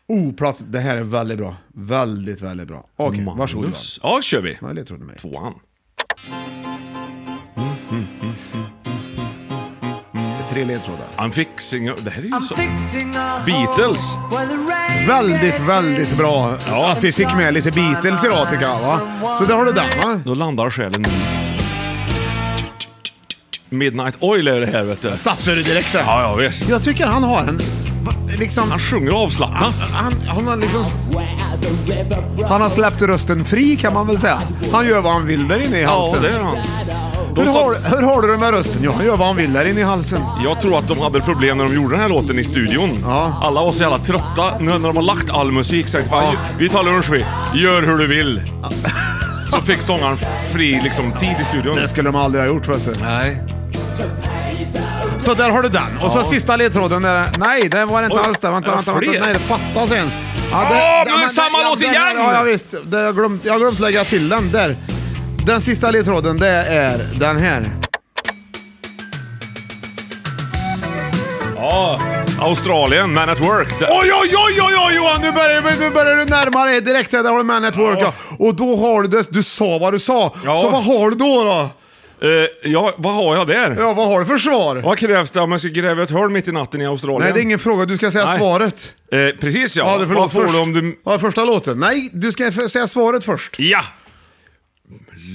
S1: Oh, plats. Det här är väldigt bra. Väldigt, väldigt bra. Okej, varsågod Johan.
S2: Magnus. Ja, kör vi.
S1: Nej, det trodde mig.
S2: Tvåan.
S1: Tre ledtrådar.
S2: I'm fixing... a- Det här är ju så...
S5: fixing a
S2: Beatles.
S1: Väldigt, väldigt bra. Ja, att vi fick med lite Beatles idag tycker jag. Va? Så där har du den va?
S2: Då landar själen mitt. Midnight Oil är det här, vet du. Ja,
S1: Satte du direkt där?
S2: ja, visst.
S1: Jag tycker han har en... va, Liksom...
S2: Han sjunger avslappnat.
S1: Han, han har liksom... Han har släppt rösten fri kan man väl säga. Han gör vad han vill där inne i
S2: Ja,
S1: halsen.
S2: det är han.
S1: hur,
S2: De sa-
S1: har, hur har du det med rösten? Ja, han gör vad han vill där inne i halsen.
S2: Jag tror att de hade problem när de gjorde den här låten i studion.
S1: Ja.
S2: Alla var så jävla trötta nu när de har lagt all musik. Sagt, "Fan, Vi tar lunch vi. Gör hur du vill. Så fick sångaren fri liksom, tid i studion.
S1: Det skulle de aldrig ha gjort vet du.
S2: Nej.
S1: Så där har du den. Och så sista ledtråden. Där. Nej, det var det inte
S2: Oj,
S1: alls det. Vänta,
S2: det var
S1: vänta, vänta.
S2: fler.
S1: Nej, det fattas en. Ja,
S2: Åh, men det är samma
S1: ja,
S2: låt
S1: den-
S2: igen!
S1: Ja, ja visst. Det, jag har glömt, jag har glömt lägga till den. Där. Den sista ledtråden, det är den här.
S2: Ja. Australien, Man at Work. Det-
S1: Oj, oj, oj, oj, oj Johan! Nu börjar, nu börjar du närma dig direkt. Där har du Man at Work. Ja. Och då har du det. Du sa vad du sa.
S2: Ja.
S1: Så vad har du då? då?
S2: Eh, ja, vad har jag där?
S1: Ja, vad har du för svar?
S2: Vad krävs det om man ska gräva ett hål mitt i natten i Australien?
S1: Nej, det är ingen fråga. Du ska säga
S2: Nej.
S1: svaret.
S2: Eh, precis ja.
S1: Ja, det förlåt.
S2: vad får
S1: först.
S2: du om du...
S1: Ja, första låten. Nej, du ska f- säga svaret först.
S2: Ja!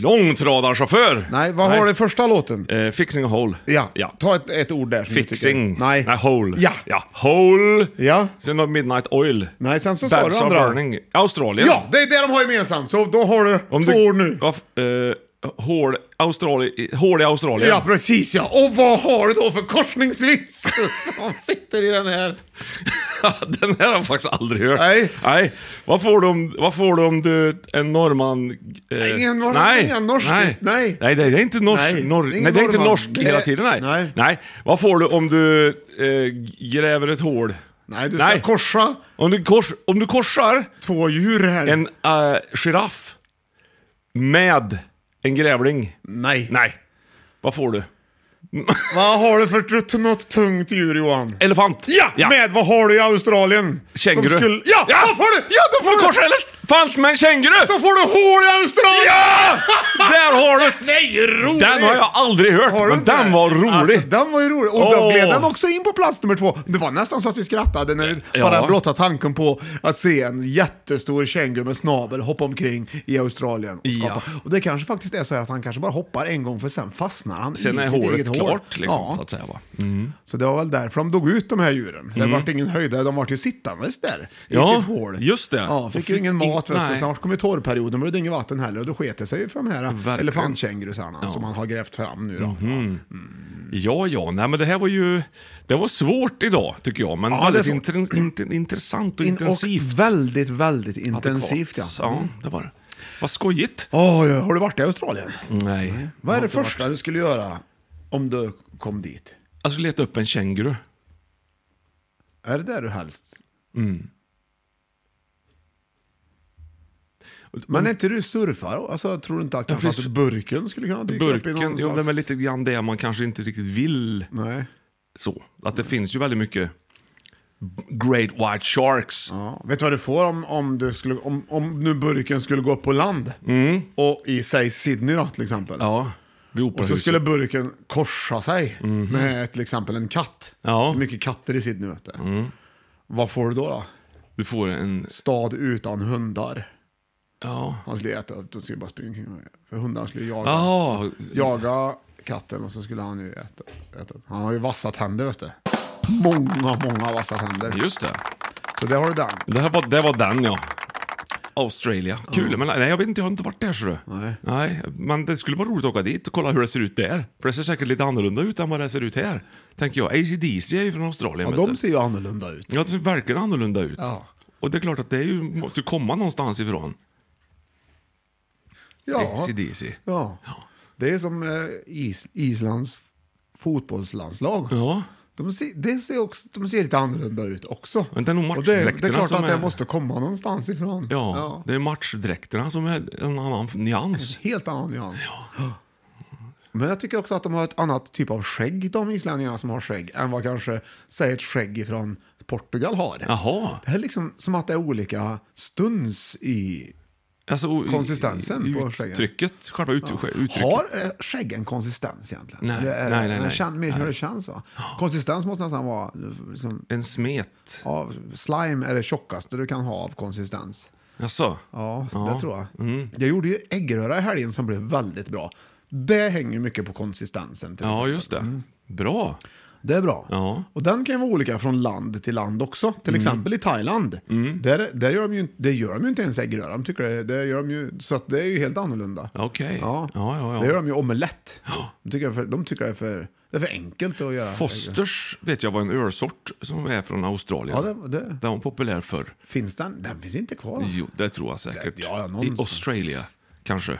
S2: Långtradarchaufför.
S1: Nej, vad har du i första låten?
S2: Eh, fixing a hole.
S1: Ja.
S2: ja.
S1: ta ett, ett ord där. som du
S2: Fixing.
S1: tycker. Nej.
S2: Nej, hole.
S1: Ja.
S2: ja. Hole.
S1: Ja.
S2: Sen har Midnight Oil.
S1: Nej, sen så sa
S2: Bats
S1: du
S2: are
S1: andra.
S2: burning. Australien.
S1: Ja, det är det de har gemensamt. Så då har du två ord nu.
S2: Ja, f- eh, hål, Australi, hål i Australien.
S1: Ja, precis ja. Och vad har du då för korsningsvits som sitter i den här?
S2: Den här har jag faktiskt aldrig hört.
S1: Nej.
S2: Nej. Vad får du om, vad får du, om du en norrman... Eh,
S1: Ingen norr- ingen norsk,
S2: nej.
S1: visst, nej.
S2: Nej, det är inte norsk,
S1: Nej,
S2: nej. Norr,
S1: ingen
S2: nej, det är inte
S1: norrman.
S2: norsk
S1: Det-
S2: hela tiden. Nej.
S1: nej.
S2: Vad får du om du eh, gräver ett hål?
S1: Nej, du ska korsa
S2: Om du, kors, om du korsar
S1: två djur här.
S2: en eh, giraff med en grävling.
S1: Nej.
S2: Nej. Vad får du?
S1: Vad har du för tr- något tungt djur Johan?
S2: Elefant.
S1: Ja, med vad har du i Australien?
S2: Känguru.
S1: Som skulle... Ja,
S2: Ja!
S1: vad får du? Ja, då får du...
S2: Korsa elefant med en känguru!
S1: Så får du hål i Australien!
S2: Ja! Där har du det!
S1: Nej, roligt!
S2: Den har jag aldrig hört,
S1: Har du
S2: men
S1: inte
S2: den
S1: det?
S2: var rolig.
S1: Alltså, den var ju rolig. Och då
S2: Åh.
S1: gled den också in på plats nummer två. Det var nästan så att vi skrattade när vi
S2: Ja.
S1: bara blotta tanken på att se en jättestor känguru med snabel hoppa omkring i Australien. Och,
S2: Ja.
S1: skapa. och det kanske faktiskt är så här att han kanske bara hoppar en gång för sen fastnar han
S2: Sen
S1: i
S2: Alltså, är
S1: sitt eget
S2: hålet
S1: hår.
S2: klart, liksom,
S1: ja.
S2: så
S1: så,
S2: att säga. Va?
S1: det var väl därför de dog ut de här djuren. Det vart ingen höjdare, de vart ju sittandes där
S2: Mm. Ja,
S1: i sitt hål.
S2: just det.
S1: Ja, fick
S2: Och
S1: ju
S2: fick
S1: ingen
S2: in-
S1: mat, vet du.
S2: nej.
S1: snart kom ju torrperioden, men det var inget vatten heller. Och då sket det sig ju för de här
S2: Verkligen. Mhm.
S1: elefantkängurusarna som man har grävt fram nu då.
S2: Ja, ja, nej men det här var ju... Det var svårt idag tycker jag, men
S1: Ja,
S2: väldigt
S1: det är
S2: inter, inter, intressant och
S1: In-
S2: intensivt.
S1: Och väldigt, väldigt intensivt. Ja. Mm.
S2: Adekvat. det var det. Vad skojigt.
S1: Åh, ja. Har du varit i Australien?
S2: Nej.
S1: Vad är
S2: Mm. har
S1: det
S2: inte varit.
S1: första du skulle göra om du kom dit?
S2: Jag skulle Alltså, leta upp en känguru.
S1: Är det där du helst?
S2: Mm.
S1: Men är inte du surfare? Alltså, tror du inte att
S2: Mm. Ja,
S1: kanske att
S2: finns-
S1: burken skulle kunna dyka upp i
S2: Burken,
S1: någon
S2: jo,
S1: slags...
S2: det är lite grann det man kanske inte riktigt vill.
S1: Nej.
S2: Så. Att det finns ju väldigt mycket Great White Sharks.
S1: Ja. Vet du vad du får om, om, du skulle, om, om nu burken skulle gå upp på land?
S2: Mm.
S1: Och i, säg Sydney då till exempel.
S2: Ja, vid
S1: Och så
S2: operahuset.
S1: skulle burken korsa sig med till exempel en katt.
S2: Mhm. Ja. Mm.
S1: Det är mycket katter i Sydney vet du. Vad får du då? då?
S2: Du får en...
S1: Stad utan hundar.
S2: Ja.
S1: Han skulle äta upp, de skulle bara springa omkring. med- För hundarna skulle jaga,
S2: Jaha.
S1: jaga katten och så skulle han ju äta, äta upp. Han har ju vassa tänder vet du. Många, många vassa tänder.
S2: Just det.
S1: Så där har du den.
S2: Det, här var, det var den ja. Australia. Kul. Men nej, jag vet inte, jag har inte varit där så du. Nej. Men det skulle vara roligt att åka dit och kolla hur det ser ut där. För det ser säkert lite annorlunda ut än vad det ser ut här. Tänker jag. ACDC är ju från Australien
S1: Ja,
S2: vet
S1: de
S2: du.
S1: ser ju annorlunda ut.
S2: Ja, det ser verkligen annorlunda ut.
S1: Ja.
S2: Och det är klart att det är ju, måste ju komma någonstans ifrån.
S1: Ja,
S2: ACDC.
S1: ja. det är som eh, Is Islands fotbollslandslag.
S2: Ja.
S1: De ser, det ser också, de ser lite annorlunda ut också.
S2: Men det är nog
S1: Och det, är- det är
S2: matchdräkterna
S1: klart
S2: som
S1: att det
S2: är-
S1: måste komma någonstans ifrån.
S2: Ja, det är matchdräkterna som är en annan nyans.
S1: Helt annan nyans. Ja. Men jag tycker också att de har ett annat typ av skägg, de islänningarna som har skägg, än vad kanske, säg ett skägg från Portugal har.
S2: Jaha.
S1: Det är liksom som att det är olika stuns i...
S2: Alltså, o-
S1: Konsistensen på skäggen.
S2: Uttrycket, själva ut, uttrycket.
S1: Har eh, skägg en konsistens egentligen?
S2: Nej,
S1: Eller är
S2: nej,
S1: det-
S2: nej,
S1: den
S2: nej.
S1: kän- Mer hur
S2: Nej.
S1: det känns va? Konsistens måste nästan vara... Liksom,
S2: En smet.
S1: ja, slime är det tjockaste du kan ha av konsistens.
S2: Jaså?
S1: Ja, det tror jag.
S2: Mm.
S1: Jag gjorde ju äggröra i helgen som blev väldigt bra. Det hänger ju mycket på konsistensen. Till
S2: Ja,
S1: exempel.
S2: just det. Bra.
S1: Det är bra.
S2: Ja. Mm.
S1: Och den kan ju vara olika från land till land också. Till exempel i Thailand. Där, där gör de ju, inte- det gör de ju inte ens äggröra. De tycker det, det gör de ju, så att det är ju helt annorlunda.
S2: Okej.
S1: Ja.
S2: Ja, ja, ja.
S1: Det gör de ju omelett. De tycker, det är för, de tycker det, är för, det är för enkelt att göra.
S2: Fosters vet jag var en örsort som är från Australien.
S1: Ja, det- det-
S2: Den var populär förr.
S1: Finns den? Den finns inte kvar.
S2: Jo, det tror jag säkert.
S1: Det- ja, ja,
S2: I
S1: någonstans.
S2: Australia, kanske.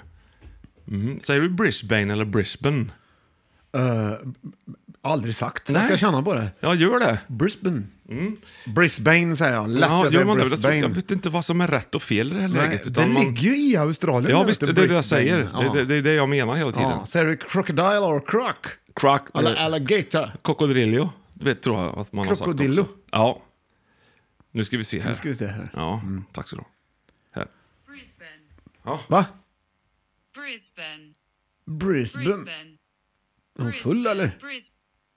S2: Mm. Säger du Brisbane eller Brisbane?
S1: Aldrig sagt.
S2: Nej.
S1: Jag ska känna på det.
S2: Ja, gör det.
S1: Brisbane. Brisbane säger jag. Lätt
S2: Ja,
S1: att
S2: gör
S1: säga
S2: man det? Jag, tror,
S1: Brisbane.
S2: jag vet inte vad som är rätt och fel i det här
S1: Nej,
S2: läget.
S1: det
S2: utan man-
S1: ligger ju i Australien.
S2: Ja,
S1: där,
S2: visst, det
S1: vet
S2: är
S1: du,
S2: det jag
S1: Brisbane.
S2: säger.
S1: Ja.
S2: Det, det, det är det jag menar hela tiden.
S1: Ja, säger du crocodile or croc?
S2: Croc,
S1: Eller
S2: eh,
S1: alligator?
S2: Cocodrillo, det vet, tror jag att man har
S1: Krokodillo.
S2: sagt också. Ja. Nu ska vi se här.
S1: Nu ska vi se här.
S2: Ja, tack så du ha. Här.
S6: Brisbane,
S1: Va?
S6: Brisbane,
S1: Brisbane.
S6: Brisbane.
S1: Är hon full eller?
S6: Bris,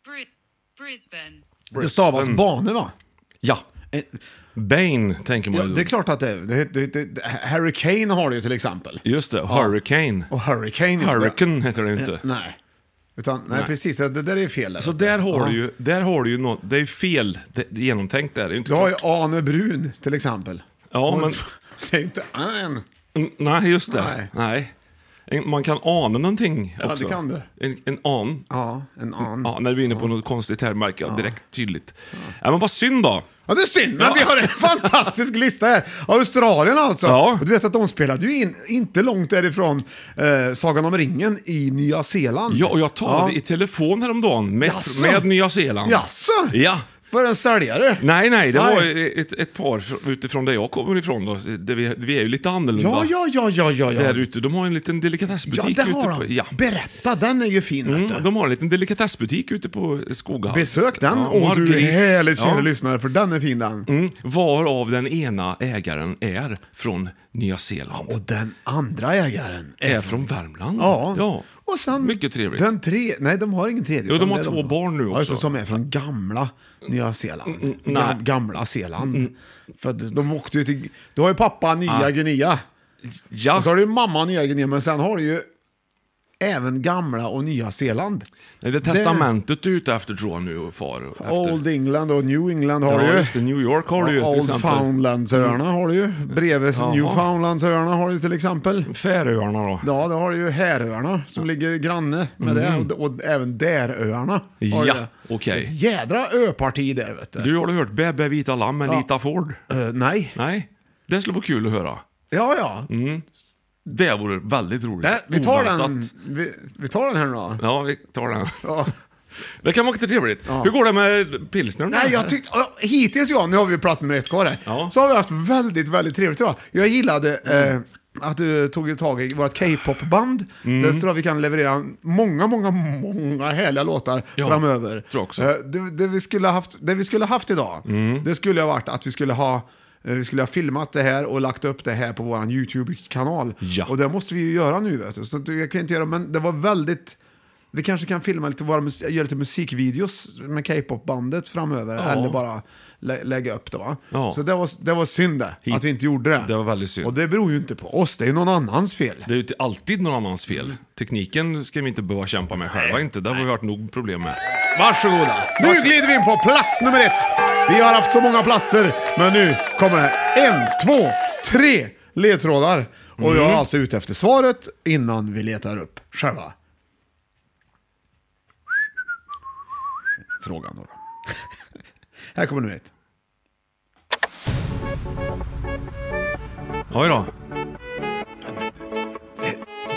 S6: Bri, Brisbane,
S1: Det stavas
S2: Brisbane.
S1: bane va?
S2: Ja. Bane tänker man
S1: Eh, Ja,
S2: ju.
S1: det är klart att det är. Det, det, det, det, Hurricane har det ju till exempel.
S2: Just det, Hurricane.
S1: Och Hurricane. inte.
S2: Hurricane heter det
S1: Eh,
S2: inte.
S1: Nej. Utan, nej,
S2: Nej.
S1: precis. Det, det där är ju fel. Där.
S2: Så där har
S1: Ja.
S2: du ju, där har du ju något, det är ju fel det, det är genomtänkt där. Det är ju inte
S1: Du har ju
S2: klart.
S1: Ane Brun till exempel.
S2: Ja,
S1: Hon-
S2: men-
S1: Det är ju inte Ann.
S2: Mm, Nej, just det.
S1: Nej.
S2: Nej. En- Man kan ana någonting
S1: Ja,
S2: också.
S1: det kan du.
S2: En, en an.
S1: Ja, en Ann.
S2: Ja,
S1: Ja.
S2: när vi är inne på något konstigt här märker jag direkt tydligt. Ja. men vad synd då.
S1: det är synd, men vi har en fantastisk lista här. Australien alltså.
S2: Ja.
S1: Och du vet att de spelade ju in, inte långt därifrån, eh, Sagan om ringen i Nya Zeeland.
S2: Ja, och jag talade
S1: Ja.
S2: i telefon häromdagen med,
S1: Jaså?
S2: med Nya Zeeland.
S1: Jaså?
S2: Ja.
S1: Var det en säljare?
S2: Nej, nej, det
S1: Nej.
S2: var ett, ett par fr- utifrån där jag kommer ifrån då. Där vi, vi är ju lite annorlunda.
S1: Ja, ja, ja, ja, ja. ja.
S2: Där ute, de har en liten
S1: Ja,
S2: delikatessbutik
S1: det har
S2: ute på...
S1: han.
S2: Ja.
S1: Berätta, den är ju fin. vet du.
S2: Mm, de har en liten delikatessbutik ute på Skoghall.
S1: Besök den.
S2: Ja,
S1: Åh, du är
S2: Margrites.
S1: härligt
S2: Ja.
S1: kära lyssnare, för den är fin den.
S2: Mm, varav den ena ägaren är från Nya Zeeland.
S1: Och den andra ägaren.
S2: är från Värmland.
S1: Ja.
S2: ja.
S1: Och sen,
S2: Mycket trevligt.
S1: Den tre, nej, de har ingen tredje.
S2: Jo, de
S1: utan
S2: har
S1: det är
S2: två
S1: som-
S2: barn nu
S1: Ja, just det,
S2: också. Mm,
S1: Som är från gamla Nya Zeeland.
S2: nej. Mm.
S1: Gam, gamla Zeeland. För att de åkte ju till... Du har ju pappa Nya Guinea.
S2: Ja.
S1: Och så har du ju mamma Nya Guinea, men sen har du ju även gamla och Nya Zeeland.
S2: Det är testamentet du är ute efter tror jag nu, far. Efter.
S1: Old England och New England har
S2: ja,
S1: du ju.
S2: just det. New York har du ju till
S1: Old
S2: exempel.
S1: Foundlandsöarna har du ju. Bredvid
S2: Jaha.
S1: Newfoundlandsöarna har du till exempel.
S2: Färöarna då.
S1: Ja, då har du ju Häröarna som ligger granne med
S2: Mm.
S1: det. Och, och även Däröarna. har du
S2: Ja,
S1: det.
S2: okej.
S1: Ett jädra öparti där vet du.
S2: Du, har du hört Bä Bä Vita Lamm med
S1: Ja.
S2: Lita Ford?
S1: Eh, nej.
S2: Nej. Det skulle vara kul att höra.
S1: Ja, ja.
S2: Mm. Det vore väldigt roligt.
S1: Det, vi, tar den,
S2: Oväntat.
S1: vi, vi tar den här nu då.
S2: Ja, vi tar den.
S1: Ja.
S2: Det kan vara lite trevligt. Hur går det med pilsnern?
S1: Nej, jag tyckte, ja, hittills ja, nu har vi pratat med ett kvar här, så har vi haft väldigt, väldigt trevligt idag. Jag gillade eh, att du tog tag i vårt K-pop-band.
S2: Mm.
S1: Där tror jag vi kan leverera många, många, många härliga låtar
S2: Ja,
S1: framöver.
S2: tror jag också.
S1: Eh, det, det, vi skulle ha haft, det vi skulle ha haft idag,
S2: Mm.
S1: det skulle ha varit att vi skulle ha eh, vi skulle ha filmat det här och lagt upp det här på vår YouTube-kanal.
S2: Ja.
S1: Och det måste vi ju göra nu. Vet du. Så att jag kan inte göra, men det var väldigt... Vi kanske kan filma lite, våra, mus- göra lite musikvideos med K-pop-bandet framöver.
S2: Ja.
S1: Eller bara lä lägga upp det va.
S2: Ja.
S1: Så det var, det var synd det, att vi inte gjorde det.
S2: Det var väldigt synd.
S1: Och det beror ju inte på oss, det är ju någon annans fel.
S2: Det är ju till- alltid någon annans fel. Tekniken ska vi inte behöva kämpa med själva inte. Det har vi haft nog problem med.
S1: Varsågoda. Nu glider vi in på plats nummer ett. Vi har haft så många platser, men nu kommer det en, två, tre ledtrådar. Och jag är
S2: Mm.
S1: alltså ute efter svaret innan vi letar upp själva frågan. Då. Här kommer nummer ett.
S2: Oj då.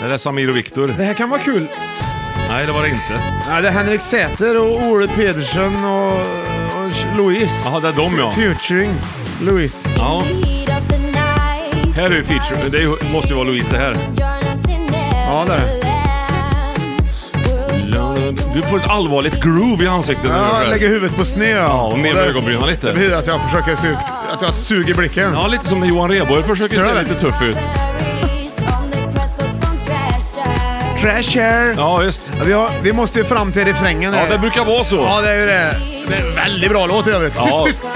S2: Det där är Samir och Viktor.
S1: Det här kan vara kul.
S2: Nej, det var det inte.
S1: Ja, det är Henrik Säter och Ole Pedersen och, och Louise.
S2: Jaha, det är de ja.
S1: Featuring Louise.
S2: Ja, här är ju feature. Det är ju- måste ju vara Louise det här.
S1: Ja, det är det.
S2: Du får ett allvarligt groove i ansiktet när du
S1: Ja,
S2: hör
S1: jag
S2: det.
S1: lägger huvudet på sned. Ja,
S2: och ner med
S1: det-
S2: ögonbrynen lite.
S1: Det betyder att jag försöker se ut, att jag suger blicken.
S2: Ja, lite som när Johan Rheborg försöker
S1: Ser du
S2: se
S1: det?
S2: lite tuff ut.
S1: Treasure!
S2: Ja, just.
S1: Vi, har, vi måste ju fram till refrängen
S2: Ja,
S1: här.
S2: det brukar vara så.
S1: Ja, det är ju det. Det är en väldigt bra låt i övrigt. Tyst,
S2: Ja.
S1: tyst!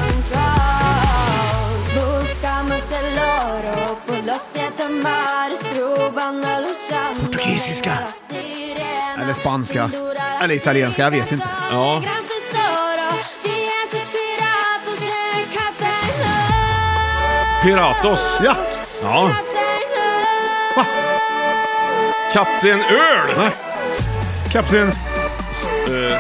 S1: Portugisiska. Eller spanska. Eller italienska, jag vet inte.
S2: Ja. Piratos.
S1: Ja.
S2: Ja. Kapten Öl!
S1: Nej. Kapten...
S2: S- eh,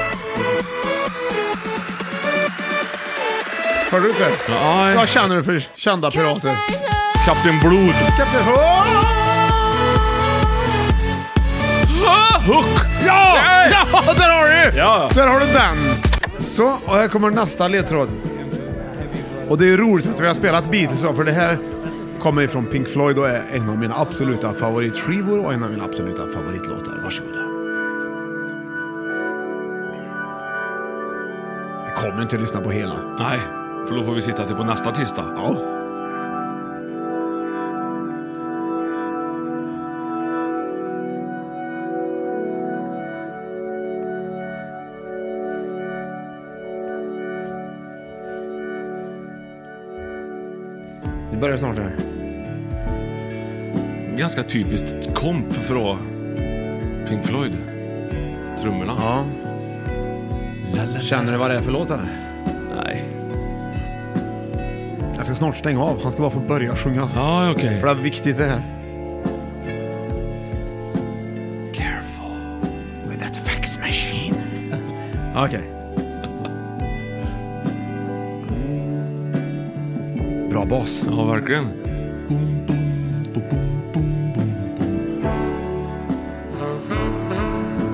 S1: Hör du inte?
S2: ja,
S1: Vad känner du för kända pirater?
S2: Kapten Blod.
S1: Kapten... Åh!
S2: Ah, hook!
S1: Ja!
S2: Nej!
S1: Ja, där har du!
S2: Ja.
S1: Där har du den! Så, och här kommer nästa ledtråd. Och det är roligt att vi har spelat Beatles idag, för det här kommer ifrån Pink Floyd och är en av mina absoluta favoritskivor och en av mina absoluta favoritlåtar. Varsågoda. Jag kommer inte att lyssna på hela.
S2: Nej, för då får vi sitta till på nästa tisdag.
S1: Ja. Det börjar snart här.
S2: Ganska typiskt komp från Pink Floyd. Trummorna.
S1: Ja. Känner du vad det är för låt eller?
S2: Nej.
S1: Jag ska snart stänga av. Han ska bara få börja sjunga.
S2: Ja, okej.
S1: För det är viktigt det här.
S2: Careful.
S1: With that fax machine. Okej. Bra bas.
S2: Ja, verkligen.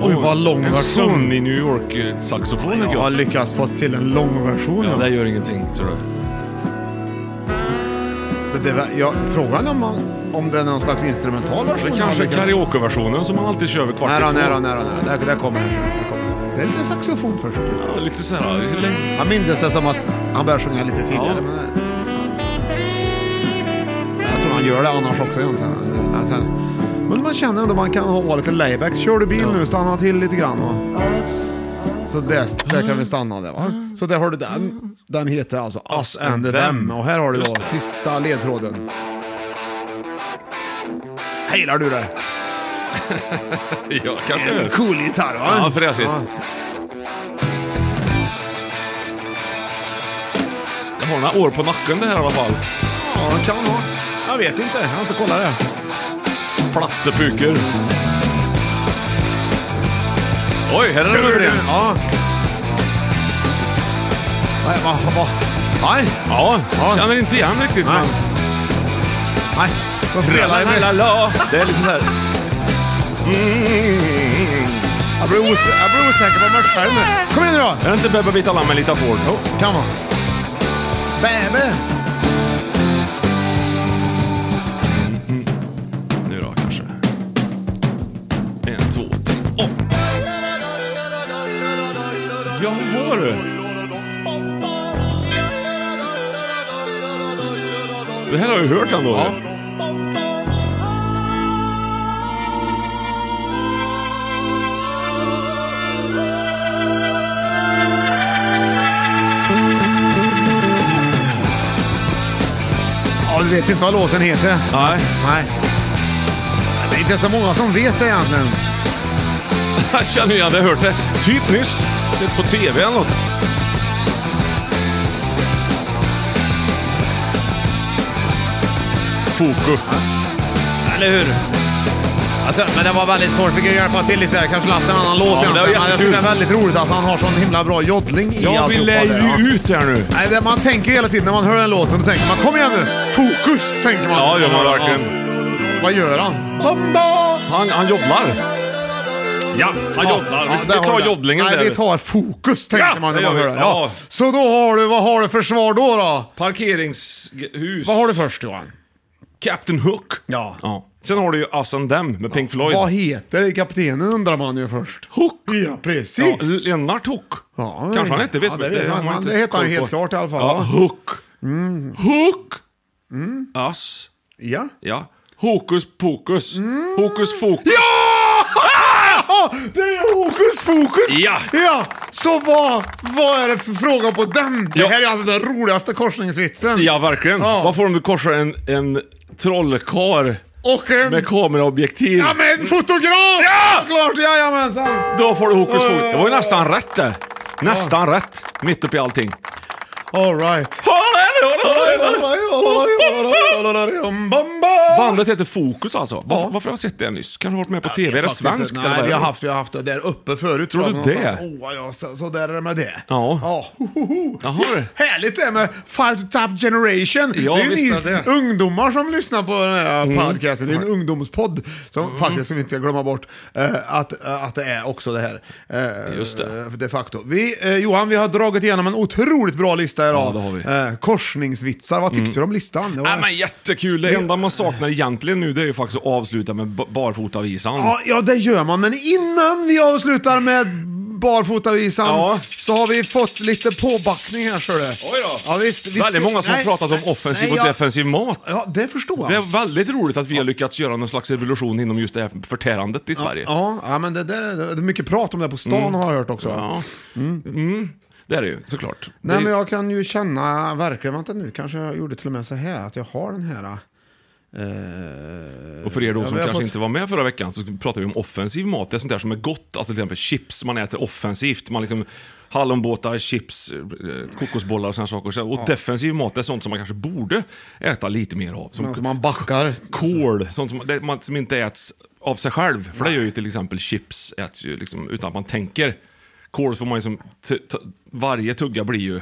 S1: Oj, vad lång
S2: En
S1: version.
S2: sömnig New York-saxofon är
S1: Jag har
S2: gött.
S1: lyckats få till en lång version.
S2: Ja,
S1: Ja,
S2: det gör ingenting, ser du.
S1: det, det, var- jag, frågan är om, man, om det är någon slags instrumental version.
S2: Det kanske är
S1: Kanske.
S2: karaokeversionen som man alltid kör vid kvart i
S1: Nära,
S2: två.
S1: nära, nära, nära. Där, där kommer den. Där kommer den. Det är lite saxofon först.
S2: Ja, lite så här, lite längre.
S1: Jag minns det som att han började sjunga lite tidigare.
S2: Ja.
S1: men Jag tror han gör det annars också egentligen. Att han- Men man känner ändå att man kan ha lite layback. Kör du bil nu, stanna till lite grann. Va? Så där, där kan vi stanna där va. Så där har du den. Den heter alltså Us and the Them. Och här har du då sista ledtråden. Hejlar du det?
S2: ja, kanske.
S1: En cool gitarr, va?
S2: Ja, fräsigt. Jag har några år på nacken det här i alla fall.
S1: Ja, kan ha. Jag vet inte, jag har inte kollat det.
S2: Plattepuker. Oj, här är det överens.
S1: Ja. Nej, va, va. Nej.
S2: Ja, känner inte igen riktigt.
S1: Nej.
S2: Men...
S1: Nej. De spelar ju
S2: Tralala,
S1: med...
S2: la. Det är lite så här. Mm.
S1: Jag blir, os jag blir osäker på mig själv nu. Kom igen nu då!
S2: Är det inte Bebbe Vita Lamm med Lita Ford?
S1: Jo, kan vara. Bäbe!
S2: Nu då kanske. En, två, tre, och. Jaha du. Det här har jag ju hört ändå.
S1: Ja. Ja, du vet inte vad låten heter.
S2: Nej.
S1: Nej. Det är inte så många som vet det egentligen.
S2: Jag känner igen det, jag har hört det. Typ nyss. Sett på TV eller något. Fokus.
S1: Eller hur? Jag tror- Men det var väldigt svårt. Fick jag hjälpa till lite där. Kanske haft en annan låt.
S2: men det
S1: egentligen,
S2: var
S1: men jag
S2: jättekul.
S1: tycker det är väldigt roligt att han har sån himla bra joddling i
S2: Jag
S1: alltihopa
S2: vill ju
S1: där, ja.
S2: ut här nu.
S1: Nej, det man tänker hela tiden när man hör den låten, då tänker man kom igen nu! Fokus! Tänker man.
S2: Ja, det gör man verkligen.
S1: Ja. Vad gör han? Bomba!
S2: Han, han joddlar. Ja, han joddlar.
S1: där
S2: Vi- vi
S1: har
S2: tar
S1: det.
S2: joddlingen
S1: Nej,
S2: där.
S1: vi tar fokus tänkte
S2: Ja,
S1: man när
S2: det
S1: man
S2: gör
S1: hör
S2: vi.
S1: det. Ja.
S2: Ja.
S1: Så då har du, vad har du för svar då? då?
S2: Parkeringshus.
S1: Vad har du först Johan?
S2: Captain Hook.
S1: Ja.
S2: Sen har du ju Us and Them med Pink Floyd.
S1: Vad heter kaptenen undrar man ju först.
S2: Hook?
S1: Ja, precis.
S2: Ja, Lennart Hook.
S1: Ja,
S2: Kanske han hette, vet
S1: ja,
S2: vi
S1: det vet man.
S2: har
S1: Han-
S2: inte
S1: det heter han
S2: koll
S1: helt
S2: på.
S1: klart i alla fall, va? Mm.
S2: Ja, Hook. Hook! Us.
S1: Ja.
S2: Ja. Hokus pokus. Hokus fokus.
S1: Ah, det är hokus fokus!
S2: Ja.
S1: ja. Så vad, vad är det för fråga på den? Det
S2: Ja.
S1: här är alltså den roligaste korsningsvitsen.
S2: Ja, verkligen.
S1: Ja.
S2: Vad får de om du korsar en, en trollkar
S1: Och en...
S2: med kameraobjektiv?
S1: Ja men fotograf!
S2: Ja!
S1: Såklart, jajamensan!
S2: Då får du hokus
S1: Ja, ja,
S2: fokus.
S1: ja,
S2: Det var ju
S1: ja.
S2: nästan rätt det. Nästan rätt. Mitt uppe i allting.
S1: Alright.
S2: Bandet heter Fokus alltså. Varför, varför har jag sett det nyss? Kanske varit med på TV? Är det svenskt? eller vad
S1: Nej,
S2: är
S1: vi har
S2: det?
S1: haft, jag har haft det där uppe förut.
S2: Tror
S1: jag,
S2: du det?
S1: någonstans. Åh, ja, så, så där är det med det.
S2: Ja.
S1: ja. hohoho.
S2: Jaha, du.
S1: Härligt det med Fire to Top Generation.
S2: Ja,
S1: det är ju
S2: visst
S1: ni
S2: är det. Mm.
S1: ungdomar som lyssnar på den här podcasten. Det är en ungdomspodd som faktiskt, som vi inte ska glömma bort, eh, att, eh, att det är också det här. Eh,
S2: Just det.
S1: eh, De facto. Vi, eh, Johan, vi har dragit igenom en otroligt bra lista idag.
S2: Ja, det Mm.
S1: Eh, korsningsvitsar. Vad tyckte du om listan? Det var-
S2: Nej, men jättekul. Det enda man saknar egentligen nu det är ju faktiskt att avsluta med ba- barfotavisan.
S1: Ja, ja, det gör man, men innan vi avslutar med barfotavisan
S2: Ja.
S1: så har vi fått lite påbackning här, ser du.
S2: Oj då.
S1: Ja, visst, visst,
S2: Väldigt många som har
S1: nej,
S2: pratat
S1: nej,
S2: om offensiv
S1: nej,
S2: och
S1: ja,
S2: defensiv mat.
S1: Ja, det förstår jag.
S2: Det är väldigt roligt att vi har lyckats göra någon slags revolution inom just det här förtärandet i Sverige.
S1: Ja, ja, men det, där, det är mycket prat om det på stan har jag hört också.
S2: Ja. Mm. Det är det ju, såklart.
S1: Nej,
S2: det,
S1: men jag kan ju känna verkligen, vänta nu, kanske jag gjorde till och med så här, att jag har den här... eh,
S2: Och för er då
S1: ja,
S2: som
S1: vi har
S2: kanske
S1: fått-
S2: inte var med förra veckan så pratade vi om offensiv mat. Det är sånt där som är gott, alltså till exempel chips man äter offensivt. Man liksom Hallonbåtar, chips, eh, kokosbollar och sådana saker. Så- Och defensiv mat det är sånt som man kanske borde äta lite mer av. Som
S1: Men Alltså man backar.
S2: kål, sånt som, det, man, som inte äts av sig själv. För det gör ju till exempel chips, äts ju liksom, utan att man tänker. Kål får man ju som, t- t- varje tugga blir ju,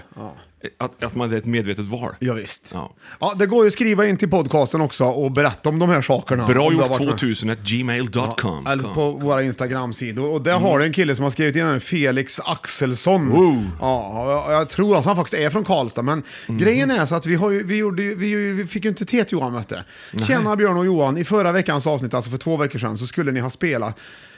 S2: att, att man det är ett medvetet val.
S1: Ja, visst. Ja.
S2: Ja.
S1: det går ju att skriva in till podcasten också och berätta om de här sakerna.
S2: Bra
S1: om du har
S2: gjort
S1: varit med.
S2: 2000 gmail.com.
S1: Eller på våra Instagram-sidor. Och där har du en kille som har skrivit in en Felix Axelsson.
S2: Wow. Mhm.
S1: Ja, och jag, jag tror att han faktiskt är från Karlstad. Men grejen är så att vi, har ju, vi, gjorde, ju- vi, ju- vi fick ju inte till ett Johan möte. Tjena Björn och Johan. I förra veckans avsnitt, alltså för två veckor sedan, så skulle ni ha spelat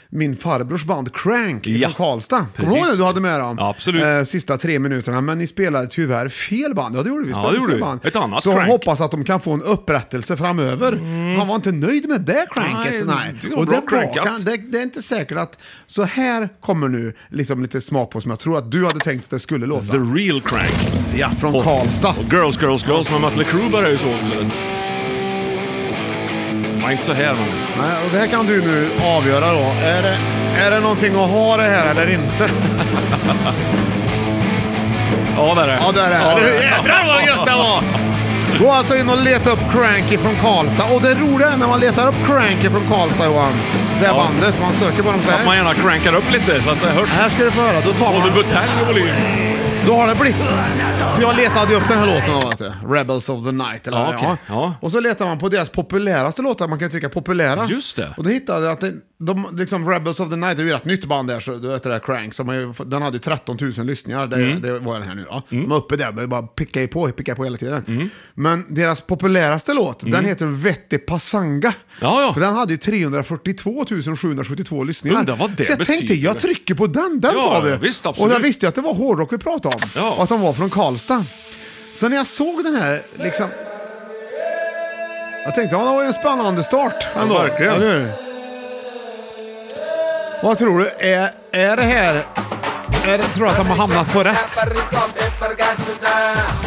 S1: min farbrors band Crank
S2: Ja.
S1: från Karlstad. Kommer du ihåg
S2: Precis.
S1: det? Du hade med dem.
S2: Absolut.
S1: Eh, sista tre minuterna. Men ni spelade tyvärr fel band. Ja, det gjorde vi. vi.
S2: Ja,
S1: spelade
S2: det gjorde
S1: fel
S2: vi.
S1: band.
S2: Ett annat
S1: Så
S2: Crank. Mm.
S1: hoppas att de kan få en upprättelse framöver. Han var inte nöjd med det Cranket.
S2: Nej,
S1: Nej.
S2: det var
S1: Och
S2: bra
S1: det, var,
S2: crankat.
S1: kan, det, det är inte säkert att så här kommer nu liksom lite smak på som jag tror att du hade tänkt att det skulle låta.
S2: The real crank.
S1: Ja, från
S2: Och-
S1: Karlstad.
S2: Och Girls, Girls, Girls med Mötley Crüe börjar ju så också. vet du. Nej, inte så här. Men.
S1: Nej, och det här kan du nu avgöra då. Är det, är det någonting att ha det här eller inte?
S2: Ja, där är det.
S1: Ja, där är det. Jädrar vad gött det var! Gå alltså in och leta upp Cranky från Karlstad. Och det roliga är när man letar upp Cranky från Karlstad, Johan. Det
S2: Ja.
S1: bandet. Man söker på dem så
S2: Att man
S1: här.
S2: gärna crankar upp lite så att det hörs.
S1: Här ska du få höra. Då tar
S2: Både
S1: man...
S2: butelj och volym.
S1: Då har det blivit. För jag letade ju upp den här låten då, vet du. Rebels of the Night. Eller
S2: Ja,
S1: vad det är.
S2: okej. Ja.
S1: Och så letar man på deras populäraste låtar. Man kan ju tycka populära.
S2: Just det.
S1: Och då hittade jag att det, de, liksom Rebels of the Night, det är ju ett nytt band där, så du vet det där Crank, som har ju, fått- den hade ju 13 000 lyssningar, det,
S2: Mm.
S1: det var den här nu då. De var uppe där, men bara pickar ju på, pickar på hela tiden.
S2: Mm.
S1: Men deras populäraste låt, den heter Vetti Passanga.
S2: Ja, ja.
S1: För den hade ju 342 772 lyssningar.
S2: Undrar vad det
S1: så jag tänkte,
S2: betyder.
S1: jag trycker på den, den
S2: Ja,
S1: tar vi.
S2: ja, visst,
S1: Och jag
S2: absolut.
S1: visste ju att det var hårdrock vi pratade om,
S2: Ja.
S1: och att de var från Karlstad. Så när jag såg den här, liksom... Jag tänkte, ja, det var ju en spännande start ändå.
S2: verkligen.
S1: Eller hur? Vad tror du? Är, är det här... Är det, tror du att de har hamnat på rätt?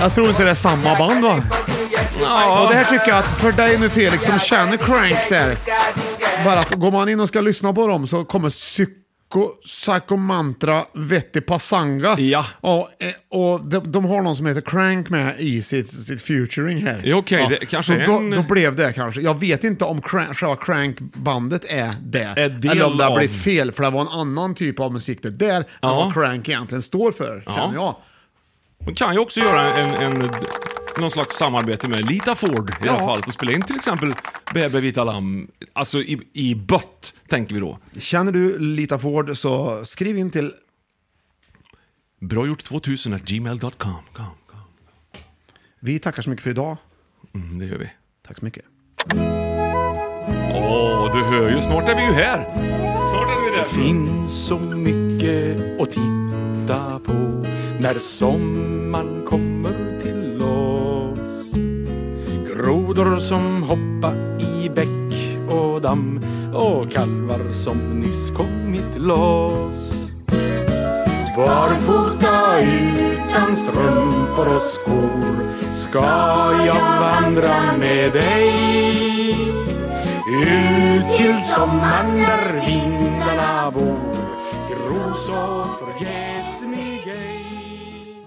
S1: Jag tror inte det är samma band va? Och det här tycker jag att för dig nu Felix som känner Crank där. Bara att går man in och ska lyssna på dem så kommer Psycho, Psycho Mantra Vetti Passanga.
S2: Ja.
S1: Och, eh, och de, de har någon som heter Crank med i sitt, sitt featuring här.
S2: Ja, okej, det kanske
S1: så
S2: är
S1: då,
S2: en-
S1: då blev det kanske. Jag vet inte om crank, själva Crank-bandet är det.
S2: Är del
S1: Eller om det har
S2: av-
S1: blivit fel, för det var en annan typ av musik det där än
S2: Ja.
S1: vad Crank egentligen står för,
S2: Ja.
S1: känner jag.
S2: Man kan ju också göra en, en, någon slags samarbete med Lita Ford i det
S1: Ja.
S2: här fallet och spela in till exempel Bebe Vita Lamm, alltså i, i bött, tänker vi då.
S1: Känner du Lita Ford så skriv in till
S2: Bra gjort 2000 at gmail.com. Kom, kom.
S1: Vi tackar så mycket för idag.
S2: Mm, det gör vi.
S1: Tack så mycket.
S2: Åh, du hör ju, snart är vi ju här. Snart är vi där.
S7: finns så mycket att titta på när sommaren kommer till oss. Grodor som hoppa i bäck och damm och kalvar som nyss kommit loss. Barfota utan strumpor och skor ska jag vandra med dig ut till sommaren där vindarna bor till ros och förgät mig ej.